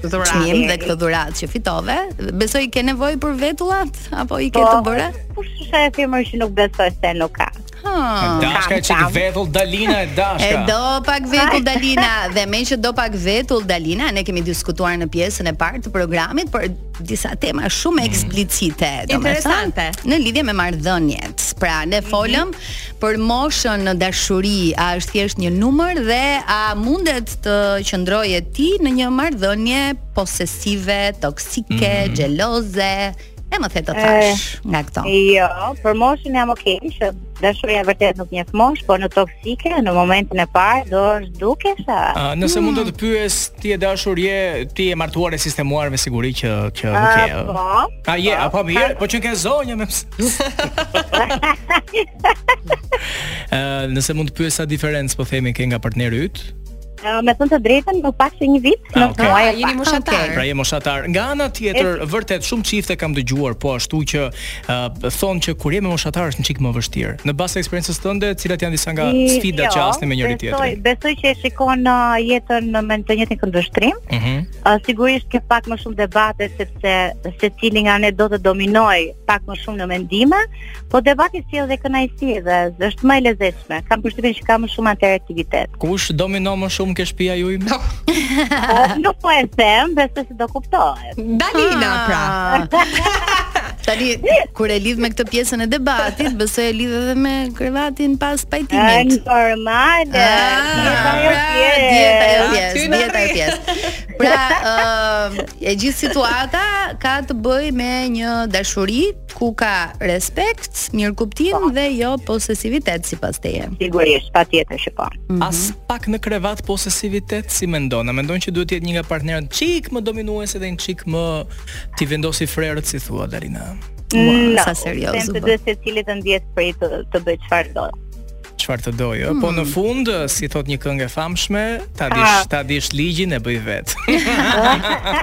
Speaker 5: Dhuratë.
Speaker 2: çmim dhe këtë dhuratë që fitove. Besoj ke nevojë për vetullat apo i ke të bëra?
Speaker 13: Po shusha e femër që nuk besoj se nuk ka.
Speaker 5: Mm.
Speaker 2: Ha.
Speaker 4: Dashka e çik vetull Dalina e
Speaker 2: E
Speaker 4: Dashka.
Speaker 2: do pak vetull Dalina dhe me që do pak vetull Dalina ne kemi diskutuar në pjesën e parë të programit për disa tema shumë eksplicite, domethënë
Speaker 5: Interesante.
Speaker 2: në lidhje me marrëdhëniet. Pra ne folëm për moshën në dashuri, a është thjesht një numër dhe a mundet të qëndroje ti në një marrëdhënie posesive, toksike, xheloze, E më the të tash nga këto.
Speaker 13: Jo, për moshën jam okay, që dashuria vërtet nuk njeh mosh, por në toksike në momentin e parë do është dukesha.
Speaker 4: Uh, nëse mund
Speaker 13: Mm.
Speaker 4: të të pyes, ti e dashur je, ti je martuar e sistemuar me siguri që që nuk
Speaker 13: Ah,
Speaker 4: je.
Speaker 13: po. Ah,
Speaker 4: A je, apo mirë, po që ke zonjë me pse. Ë, nëse mund të pyes sa diferencë po themi ke nga partneri yt?
Speaker 13: Ë, me thënë të drejtën, më pak se një vit,
Speaker 4: Ah,
Speaker 13: në
Speaker 4: okay.
Speaker 13: muaj
Speaker 4: Ah,
Speaker 13: e
Speaker 5: jeni
Speaker 13: pak.
Speaker 5: moshatar.
Speaker 4: Pra je moshatar. Nga ana tjetër, vërtet shumë çifte kam dëgjuar po ashtu që uh, thonë që kur je me moshatar është një çik më vështirë. Në bazë të eksperiencës tënde, cilat janë disa nga
Speaker 13: I-
Speaker 4: sfidat që
Speaker 13: jo,
Speaker 4: asni me njëri
Speaker 13: Besoj,
Speaker 4: tjetrin.
Speaker 13: besoj që e shikon uh, jetën në me të njëjtin këndvështrim.
Speaker 4: Mhm.
Speaker 13: Uh, sigurisht ke pak më shumë debate sepse secili nga ne do të dominoj pak më shumë në mendime, po debati sjell dhe kënaqësi dhe është më e lezetshme. Kam përshtypjen që ka më shumë interaktivitet.
Speaker 4: Kush domino më shumë ke shtëpia juaj?
Speaker 13: Uh, nuk po e them, besoj se do kuptohet.
Speaker 5: Dalina
Speaker 2: Ah.
Speaker 5: pra.
Speaker 2: Po,
Speaker 11: Ah.
Speaker 2: Tani kur e lidh me këtë pjesën e debatit, besoj e lidh edhe me krevatin pas pajtimit.
Speaker 13: Normal.
Speaker 2: Ah,
Speaker 13: jo
Speaker 2: Dieta
Speaker 13: ajo pjesë.
Speaker 2: jo Dieta jo. ajo
Speaker 13: Aty
Speaker 2: pjesë,
Speaker 13: na
Speaker 2: dieta ajo
Speaker 13: rri.
Speaker 2: pjesë. Pra, ë, e gjithë situata ka të bëj me një dashuri ku ka respekt, mirëkuptim
Speaker 13: Po.
Speaker 2: dhe jo posesivitet sipas teje.
Speaker 13: Sigurisht, patjetër që po.
Speaker 4: As pak në krevat posesivitet si mendon. A mendon që duhet të jetë një nga partnerët çik më dominuese dhe një çik më ti vendosi frerët si thua Darina.
Speaker 13: Mm, No,
Speaker 2: sa po. seriozu
Speaker 13: Them të
Speaker 2: bë.
Speaker 13: dy secili të ndjes prej të, të bëj çfarë do.
Speaker 4: Çfarë të dojë, ë? po në fund, si thot një këngë e famshme, ta dish, ta dish ligjin e bëj vet.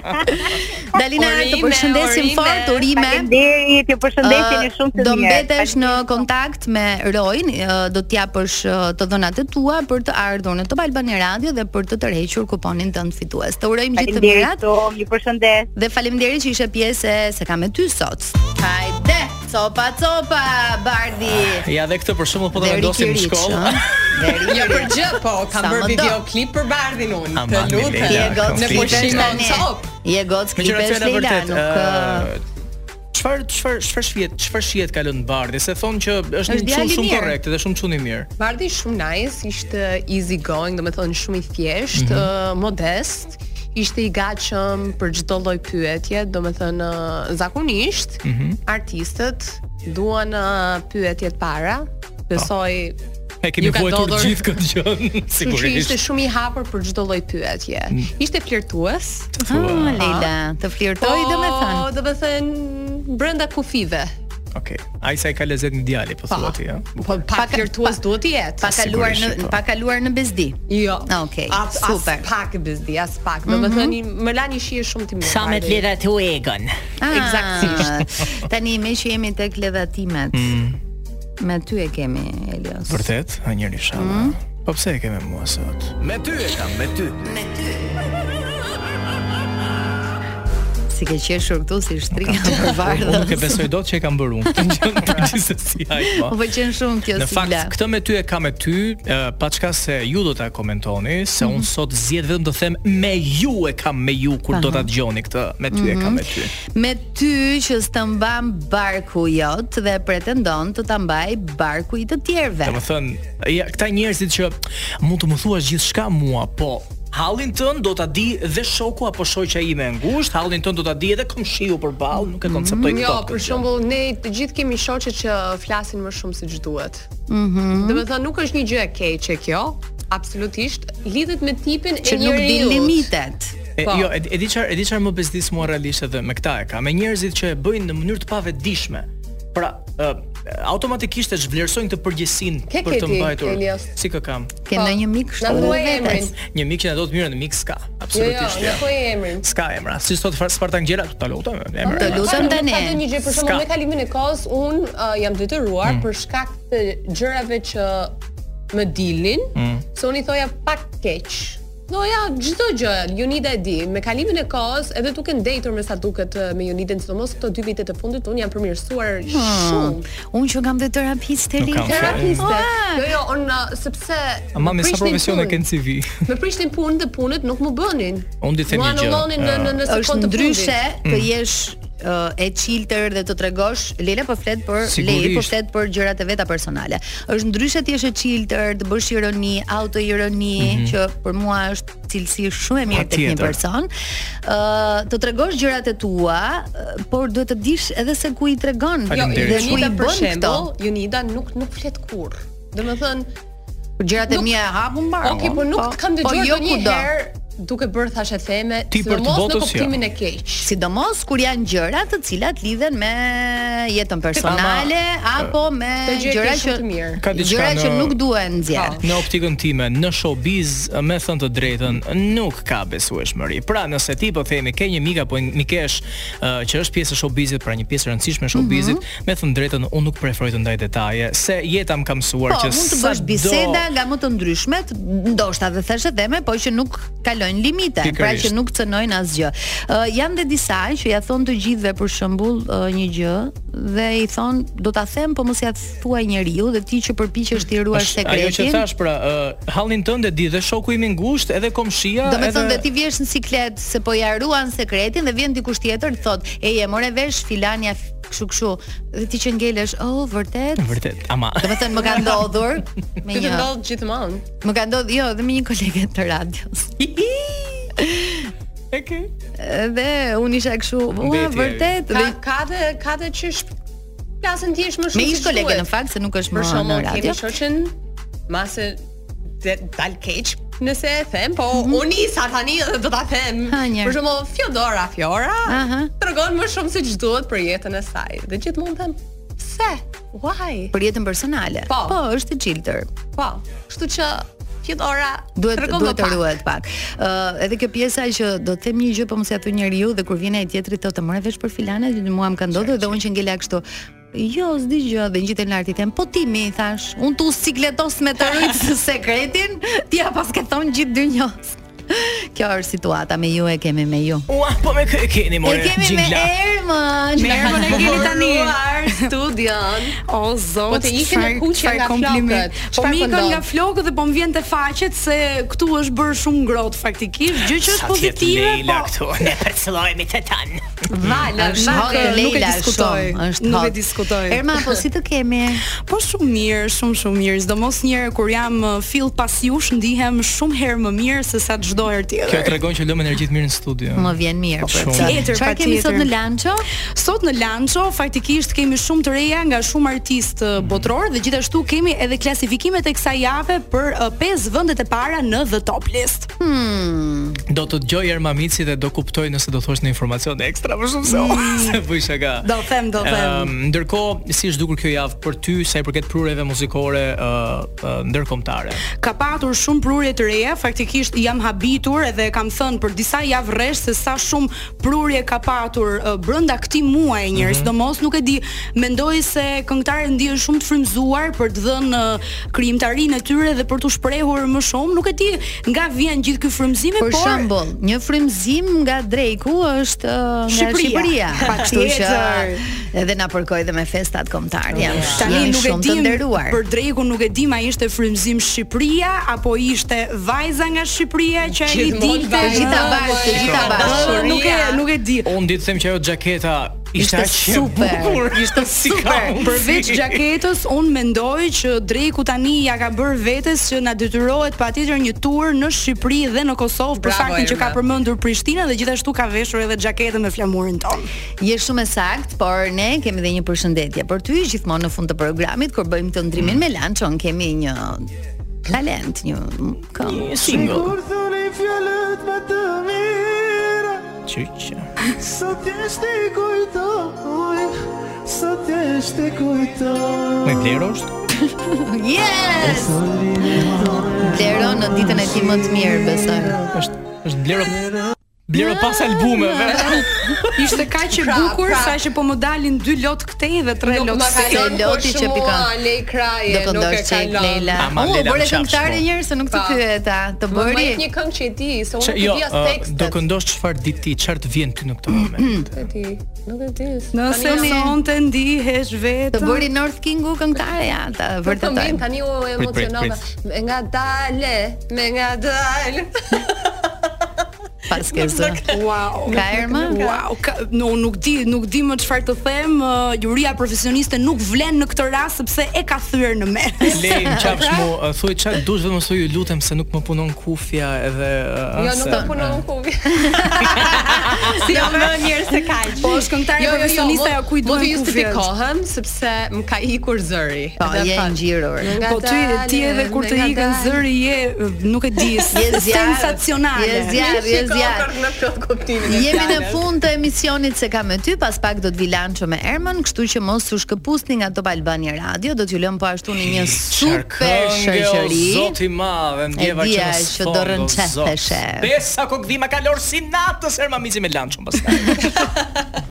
Speaker 2: Dalina,
Speaker 13: Urime,
Speaker 2: të përshëndesim
Speaker 13: urime.
Speaker 2: fort, urime.
Speaker 13: Faleminderit, ju përshëndesim ju
Speaker 2: Ë,
Speaker 13: shumë të
Speaker 2: Do
Speaker 13: mirë.
Speaker 2: mbetesh në kontakt me Rojin, ë, do t'japësh ë, të dhënat e tua për të ardhur në Top Albani Radio dhe për të tërhequr kuponin tënd fitues. Të urojmë gjithë të
Speaker 13: Faleminderit
Speaker 2: mirat
Speaker 13: shumë, ju përshëndes.
Speaker 2: dhe faleminderit që ishe pjesë e se kam me ty sot. Hajde, copa copa Bardi.
Speaker 4: Ja dhe këtë për shembull po ta
Speaker 2: Dhe
Speaker 4: vendosim në
Speaker 2: Ricky Rich,
Speaker 4: shkollë.
Speaker 5: Jo për gjë, po, kam
Speaker 2: Sa
Speaker 5: bërë
Speaker 2: më do.
Speaker 5: videoklip për Bardhin unë. Të oh,
Speaker 4: Aman,
Speaker 5: lutem.
Speaker 4: Milena,
Speaker 5: në
Speaker 4: komplet.
Speaker 5: pushim on top.
Speaker 2: Je gocë
Speaker 4: Me qira
Speaker 2: klipesh
Speaker 4: fjala
Speaker 2: Leila,
Speaker 4: vërtet.
Speaker 2: nuk ë,
Speaker 4: ë, uh, Çfarë çfarë çfarë shihet, çfarë shihet kalon Bardhi, se thonë që është
Speaker 5: Është
Speaker 4: një çun
Speaker 5: djalë i
Speaker 4: shumë
Speaker 5: mirë.
Speaker 4: korrekt dhe shumë çun i mirë.
Speaker 5: Bardhi shumë nice, ishte easy going, do me thonë shumë i thjesht,
Speaker 4: Mhm.
Speaker 5: ë, modest, ishte i gatshëm për çdo lloj pyetje, do me thënë ë, zakonisht
Speaker 4: Mhm.
Speaker 5: artistët duan ë, pyetjet para,
Speaker 4: Po.
Speaker 5: besoj
Speaker 4: E kemi
Speaker 5: ju ka
Speaker 4: vuajtur
Speaker 5: ndodhur-
Speaker 4: gjithë këtë gjë,
Speaker 5: Kështu që
Speaker 4: sigurisht.
Speaker 5: ishte shumë i hapur për çdo lloj pyetje.
Speaker 4: Mm.
Speaker 5: Ishte flirtues.
Speaker 2: Ah, Leila, të flirtoi domethënë.
Speaker 5: Po, domethënë brenda kufive.
Speaker 4: Okej. Ai sa i ka lezet në djali, po thua ti, ëh.
Speaker 5: Po pak flirtues duhet të jetë.
Speaker 2: Pa kaluar
Speaker 4: Sigurisht,
Speaker 2: në
Speaker 4: po.
Speaker 2: pa kaluar në bezdi.
Speaker 5: Jo.
Speaker 2: Okej,
Speaker 5: As,
Speaker 2: super.
Speaker 5: as pak bezdi, as pak. Do të thënë, më la një shije shumë të mirë.
Speaker 1: Sa me të lidha të egon.
Speaker 2: Ah,
Speaker 5: Eksaktësisht.
Speaker 2: Tani me që jemi tek ledhatimet,
Speaker 4: Mm.
Speaker 2: me ty e kemi Elios.
Speaker 4: Vërtet, a njëri shalla.
Speaker 5: Mm.
Speaker 4: Po pse e kemi mua sot? Me ty e kam, me ty. Me ty.
Speaker 2: Si ke qeshur këtu si shtria për
Speaker 4: Unë nuk e
Speaker 2: vardhën.
Speaker 4: besoj dot që e kam bërë unë këtë gjë për gjithsesi ai
Speaker 2: Po
Speaker 4: po.
Speaker 2: pëlqen shumë kjo
Speaker 4: Në fakt,
Speaker 2: sigla.
Speaker 4: këtë me ty e kam me ty, uh, pa çka se ju do ta komentoni, se
Speaker 5: Mhm.
Speaker 4: unë sot zgjedh vetëm të them me ju e kam me ju kur do ta dëgjoni këtë, me ty
Speaker 5: Mhm.
Speaker 4: e kam me ty.
Speaker 2: Me ty që s'të mban barku jot dhe pretendon të ta mbaj barku i të tjerëve.
Speaker 4: Do të thënë, ja, këta njerëzit që mund të më thuash gjithçka mua, po Hallin tën do ta di dhe shoku apo shoqja ime e ngushtë, hallin tën do ta di edhe komshiu përballë, nuk e konceptoj
Speaker 5: Jo,
Speaker 4: këtë.
Speaker 5: për shembull, ne të gjithë kemi shoqe që flasin më shumë se ç'duhet.
Speaker 2: Mhm.
Speaker 5: Do të thënë, nuk është një gjë e keqe kjo, absolutisht lidhet me tipin e
Speaker 2: Që
Speaker 5: njeriu.
Speaker 2: nuk din limitet.
Speaker 4: E,
Speaker 5: Po.
Speaker 4: jo, e, e di çfarë, e di çfarë më bezdis mua realisht edhe me këta e ka, me njerëzit që e bëjnë në mënyrë të pavetdijshme. Pra, ë, automatikisht e zhvlerësojnë këtë përgjegjësinë
Speaker 5: Ke
Speaker 4: për të
Speaker 5: keti,
Speaker 4: mbajtur.
Speaker 5: Elias?
Speaker 4: Si kë kam?
Speaker 2: Ke ndonjë mik
Speaker 5: Po, Na
Speaker 2: kështu
Speaker 5: thuaj
Speaker 2: vetes?
Speaker 5: emrin.
Speaker 4: Një mik që na do të mirë në mik ska,
Speaker 5: Jo, jo,
Speaker 4: absolutisht.
Speaker 5: në
Speaker 4: ja.
Speaker 5: koi emrin.
Speaker 4: Ska emra. Si sot Far- Spartan Gjera, ta lutem, emra.
Speaker 2: Të lutem
Speaker 5: Nuk
Speaker 2: tani.
Speaker 5: Ka ndonjë gjë për shkak
Speaker 4: Ska.
Speaker 5: me kalimin e kohës, un uh, jam detyruar
Speaker 4: Mm.
Speaker 5: për shkak të gjërave që më dilnin,
Speaker 4: Mm.
Speaker 5: se unë i thoja pak keq. Do ja, çdo gjë, Jonida e di, me kalimin e kohës, edhe duke ndejtur me sa duket uh, me Jonidën, sidomos këto dy vitet e fundit, un jam përmirësuar
Speaker 2: Hmm,
Speaker 4: Ah.
Speaker 5: shumë.
Speaker 2: Unë që kam dhe terapiste
Speaker 4: Nuk
Speaker 2: Lina.
Speaker 4: kam fjalë. Terapiste.
Speaker 5: Jo, jo, un uh, sepse
Speaker 4: Ama me sa
Speaker 5: prishnin
Speaker 4: profesione
Speaker 5: punën.
Speaker 4: kanë CV.
Speaker 5: Me prishtin punë dhe punët nuk më bënin.
Speaker 4: Unë di them
Speaker 5: Mua
Speaker 4: një gjë. Ah.
Speaker 5: anullonin në-
Speaker 4: ë,
Speaker 5: në- në-
Speaker 2: Është
Speaker 5: sekondë të fundit.
Speaker 2: ndryshe të
Speaker 4: Mm.
Speaker 2: jesh ë, e chiltër dhe të tregosh, Lela po flet për
Speaker 4: Sigurisht.
Speaker 2: Lei po flet për gjërat e veta personale. Është ndryshe ti jesh e chiltër, të bësh ironi, autoironi,
Speaker 4: Mhm.
Speaker 2: që për mua është cilësi shumë e mirë tek një
Speaker 4: Patjetër.
Speaker 2: person. ë të tregosh gjërat e tua, ë, por duhet të dish edhe se ku i tregon
Speaker 5: Jo,
Speaker 2: dhe ku i
Speaker 5: Jonida për
Speaker 2: bën këto.
Speaker 5: shembull, Jonida nuk nuk flet kurrë. Domethënë,
Speaker 2: Gjërat e mia e hapun mbar.
Speaker 5: Okej, po nuk
Speaker 2: Po,
Speaker 5: kam
Speaker 2: po
Speaker 5: dëgjuar
Speaker 2: jo kudo.
Speaker 5: ndonjëherë duke bërë thashë theme,
Speaker 2: Ti për të
Speaker 5: sidomos në
Speaker 2: botës, jo.
Speaker 5: kuptimin e keq.
Speaker 2: Sidomos kur janë gjëra të cilat lidhen me jetën personale
Speaker 5: Ama,
Speaker 2: apo me
Speaker 5: të gjë e
Speaker 2: gjëra
Speaker 5: ke
Speaker 2: që
Speaker 5: shumë të mirë.
Speaker 4: Ka diçka
Speaker 2: gjëra
Speaker 4: në-
Speaker 2: që nuk duhen nxjerr.
Speaker 4: Në optikën time, në showbiz, me thënë të drejtën, nuk ka besueshmëri. Pra, nëse ti po themi ke një mik apo një mikesh ë, që është pjesë e showbizit, pra një pjesë e
Speaker 2: Mhm.
Speaker 4: rëndësishme e showbizit, me thënë drejtën unë nuk preferoj të ndaj detaje, se jeta më ka
Speaker 2: Po,
Speaker 4: mësuar që
Speaker 2: mund të bësh
Speaker 4: sado-
Speaker 2: biseda nga më të ndryshme, t- ndoshta dhe thashë theme, po që nuk kalojnë limite, pra
Speaker 4: Pikërisht.
Speaker 2: që nuk cënojnë asgjë. Uh, janë dhe disa që ja thon të gjithëve për shembull uh, një gjë dhe i thon do ta them, po mos ja thuaj njeriu dhe ti që përpiqesh të ruash
Speaker 4: Është
Speaker 2: sekretin.
Speaker 4: Ajo që thash pra, uh, hallin tënd e di dhe shoku im i ngushtë, edhe komshia,
Speaker 2: Do me
Speaker 4: edhe
Speaker 2: thënë dhe ti vjesh në siklet se po ja ruan sekretin dhe vjen dikush tjetër thot, "Ej, e more vesh filania f- kështu kështu." Dhe ti që ngelesh, "Oh, vërtet?"
Speaker 4: vërtet, ama
Speaker 2: Do me thënë më ka ndodhur me
Speaker 5: Ti të
Speaker 2: një
Speaker 5: ndodh gjithmonë.
Speaker 2: Më ka ndodhur, jo, dhe me një kolege të radios.
Speaker 4: Eke.
Speaker 2: Dhe unë isha kështu, "Ua,
Speaker 5: Mbeti e-
Speaker 2: vërtet?"
Speaker 5: Ka
Speaker 2: Dhe
Speaker 5: ka dhe ka dhe që sh- plasën ti është më shumë.
Speaker 2: me ish
Speaker 5: se
Speaker 2: kolege
Speaker 5: duhet.
Speaker 2: në fakt se nuk është më
Speaker 5: Për
Speaker 2: Ah, në
Speaker 5: shembull,
Speaker 2: radio.
Speaker 5: kemi shoqën masë dhe dal keq nëse e them, po
Speaker 2: Mhm.
Speaker 5: unë isa tani dhe do ta them.
Speaker 2: njerë.
Speaker 5: Për shembull, Fiodora Fiora
Speaker 2: Aha.
Speaker 5: tregon më shumë se ç'duhet për jetën e saj. Dhe gjithmonë them, pse? Why?
Speaker 2: Për jetën personale.
Speaker 5: Po.
Speaker 2: po është e chiltër.
Speaker 5: Po, kështu që Fiodora
Speaker 2: Duhet
Speaker 5: tregon
Speaker 2: duhet
Speaker 5: më
Speaker 2: të
Speaker 5: pak.
Speaker 2: ruhet pak. Ë edhe kjo pjesa që do të them një gjë po mos ja thuj njeriu dhe kur vjen ai tjetri thotë "More vesh për filanet, që mua më ka ndodhur dhe unë që ngela kështu." Jo, s'di gjë, dhe ngjiten lart i them, po ti mi i thash, unë tu sikletos me të rrit së sekretin, ti ja pas ke thon gjithë dynjos. Kjo është situata me ju e kemi me ju.
Speaker 4: Ua, po me kë e keni more.
Speaker 2: E kemi me
Speaker 4: gjingla.
Speaker 2: Ermën.
Speaker 4: Me Ermën e keni tani.
Speaker 5: studion.
Speaker 14: O zot.
Speaker 5: Po të ikën e
Speaker 14: çfarë-
Speaker 5: kuqe
Speaker 14: çfarë
Speaker 5: nga flokët.
Speaker 14: kompliment. Po
Speaker 5: Çfarë
Speaker 14: më
Speaker 5: po
Speaker 14: ikën
Speaker 5: ndodh?
Speaker 14: nga flokët dhe po më vjen te faqet se këtu është bërë shumë ngrot faktikisht, gjë që
Speaker 4: Sa
Speaker 14: është
Speaker 4: tjetë
Speaker 14: pozitive,
Speaker 4: Leila këtu, ne përcëllojemi të tanë.
Speaker 14: Vala,
Speaker 2: Është
Speaker 14: nuk
Speaker 2: hot,
Speaker 14: e- nuk e
Speaker 2: Leila,
Speaker 14: diskutoj.
Speaker 2: shumë, është
Speaker 14: Nuk e
Speaker 2: hot.
Speaker 14: diskutoj.
Speaker 2: Erma, po si të kemi?
Speaker 14: Po shumë mirë, shumë shumë mirë. Sidomos një herë kur jam uh, fill pas jush, ndihem shumë herë më mirë se sa çdo herë tjetër.
Speaker 4: Kjo tregon që lëmë energjit mirë në studio.
Speaker 2: Më vjen mirë për
Speaker 4: Shumë.
Speaker 2: këtë.
Speaker 14: Tjetër,
Speaker 2: Çfarë kemi sot në Lancho?
Speaker 14: Sot në Lancho faktikisht kemi shumë të reja nga shumë artistë
Speaker 2: Mhm.
Speaker 14: uh, botror dhe gjithashtu kemi edhe klasifikimet e kësaj jave për 5 vendet e para në The Top List.
Speaker 2: Hmm.
Speaker 4: Do të dëgjoj Erma Mici dhe do kuptoj nëse do thosh në informacion ekstra më shumë se unë se po bëj shaka.
Speaker 14: Mm. Do them, do them.
Speaker 4: Ëm, ndërkohë, si është dukur kjo javë për ty sa i përket prureve muzikore uh, uh, ndërkombëtare?
Speaker 14: Ka patur shumë prurje të reja, faktikisht jam habitur edhe kam thënë për disa javë rresh se sa shumë prurje ka patur uh, brenda këtij muaji njerëz.
Speaker 15: Mhm.
Speaker 14: Domos nuk e di, mendoj se këngëtarët ndihen shumë të frymëzuar për të dhënë uh, krijimtarinë e tyre dhe për t'u shprehur më shumë. Nuk e di nga vjen gjithë ky frymëzim,
Speaker 2: Për
Speaker 14: por
Speaker 2: shembull, një frymëzim nga Drejku është ë, nga
Speaker 14: Shqipëria.
Speaker 2: Shqipëria.
Speaker 14: Pa
Speaker 2: Kështu që
Speaker 14: tjetër.
Speaker 2: edhe na përkoi dhe me festat kombëtare. Jam
Speaker 14: Tani nuk e
Speaker 2: di
Speaker 14: dim
Speaker 2: nderuar.
Speaker 14: për Drekun nuk e dim a ishte frymëzim Shqipëria apo ishte vajza nga Shqipëria që ai
Speaker 2: Gjithmonë
Speaker 14: dilte
Speaker 2: vajza, Të gjitha vajzat, të gjitha vajzat.
Speaker 14: Nuk e nuk e di.
Speaker 4: Unë ditë them që ajo xhaketa ishte aq e bukur.
Speaker 14: Ishte
Speaker 4: Si ka
Speaker 14: super.
Speaker 4: mundësi?
Speaker 14: Përveç xhaketës, unë mendoj që Dreku tani ja ka bërë vetes që na detyrohet patjetër një tur në Shqipëri dhe në Kosovë për
Speaker 2: Bravo,
Speaker 14: faktin që ka
Speaker 2: Erma.
Speaker 14: përmendur Prishtinën dhe gjithashtu ka veshur edhe xhaketën me flamurin ton.
Speaker 2: Je shumë e saktë, por ne kemi edhe një përshëndetje për ty, gjithmonë në fund të programit kur bëjmë të ndrimin me Lanchon kemi një talent, një këngë
Speaker 16: Kur thoni fjalët më të mira
Speaker 4: Çiçë
Speaker 16: Sot jesht i kujtoj Sot jesht i kujtoj
Speaker 4: Me Blero është?
Speaker 2: Yes! Blero në ditën e ti më të mirë, besoj.
Speaker 4: Është është Blero Blero pas albumeve.
Speaker 14: Ishte kaq e bukur sa që po më dalin dy lot këtej dhe tre lot këtej.
Speaker 5: Lej kraje,
Speaker 2: Do të
Speaker 5: nuk e
Speaker 2: ndosh çik
Speaker 5: kalon.
Speaker 2: Leila. U, bëre këngëtare njerëz se nuk të
Speaker 5: Pa.
Speaker 2: pyeta, të
Speaker 5: Më
Speaker 2: bëri.
Speaker 5: majt një këngë që e di, se unë
Speaker 4: Që,
Speaker 5: nuk e
Speaker 4: jo,
Speaker 5: di as
Speaker 2: uh,
Speaker 4: ë,
Speaker 5: tekstet.
Speaker 4: do këndosh çfarë ditë ti, çfarë të vjen ty në këtë moment. Nuk
Speaker 5: e di, nuk e di.
Speaker 14: Nëse
Speaker 5: Tani-
Speaker 14: sonte ndihesh vetëm.
Speaker 2: Të bëri North Kingu këngëtare ja, ta
Speaker 5: Të
Speaker 2: vërtetoj.
Speaker 5: mbim tani u
Speaker 2: Prit, prit,
Speaker 5: emocionova. Me nga dale, me nga dale.
Speaker 2: Pas ke zë.
Speaker 14: Wow.
Speaker 2: Ka erma?
Speaker 14: Wow, ka, no, nuk di, nuk di më çfarë të them. Uh, juria profesioniste nuk vlen në këtë rast sepse e ka thyer në mes.
Speaker 4: Lejm qafsh mu, uh, thuaj çfarë dush vetëm thuaj ju lutem se nuk më punon kufja edhe uh,
Speaker 5: Jo,
Speaker 4: se-
Speaker 5: nuk të punon kuvi. si jam më mirë se kaq.
Speaker 14: Po, është
Speaker 2: Jo,
Speaker 14: këngëtare profesioniste, ajo kujt
Speaker 5: jo, mund
Speaker 14: duhen
Speaker 5: të
Speaker 14: kufjet?
Speaker 5: justifikohem sepse më ka ikur zëri.
Speaker 2: Po,
Speaker 5: Edhe
Speaker 2: je
Speaker 5: fat-
Speaker 2: ngjirur.
Speaker 5: Nga
Speaker 14: Po ty ti
Speaker 5: dalin,
Speaker 14: edhe kur të
Speaker 5: nga
Speaker 14: ikën
Speaker 5: dalin.
Speaker 14: zëri je nuk e di,
Speaker 2: Je zjarr,
Speaker 14: sensacionale.
Speaker 2: je zjarr, je
Speaker 5: Shiko,
Speaker 2: zjarr.
Speaker 5: për në plot kuptimin e
Speaker 2: Jemi në
Speaker 5: fjalës.
Speaker 2: fund të emisionit se kam me ty, pas pak do të vi lanço me Ermën, kështu që mos u shkëpusni nga Top Albania Radio, do t'ju lëm po ashtu në një super shoqëri.
Speaker 4: Zoti i madh, e ndjeva
Speaker 2: E
Speaker 4: që
Speaker 2: dija
Speaker 4: mos
Speaker 2: që do rënqeteshe.
Speaker 4: Pesa kokdhima kalor si natës, herma mizi me lançun pastaj.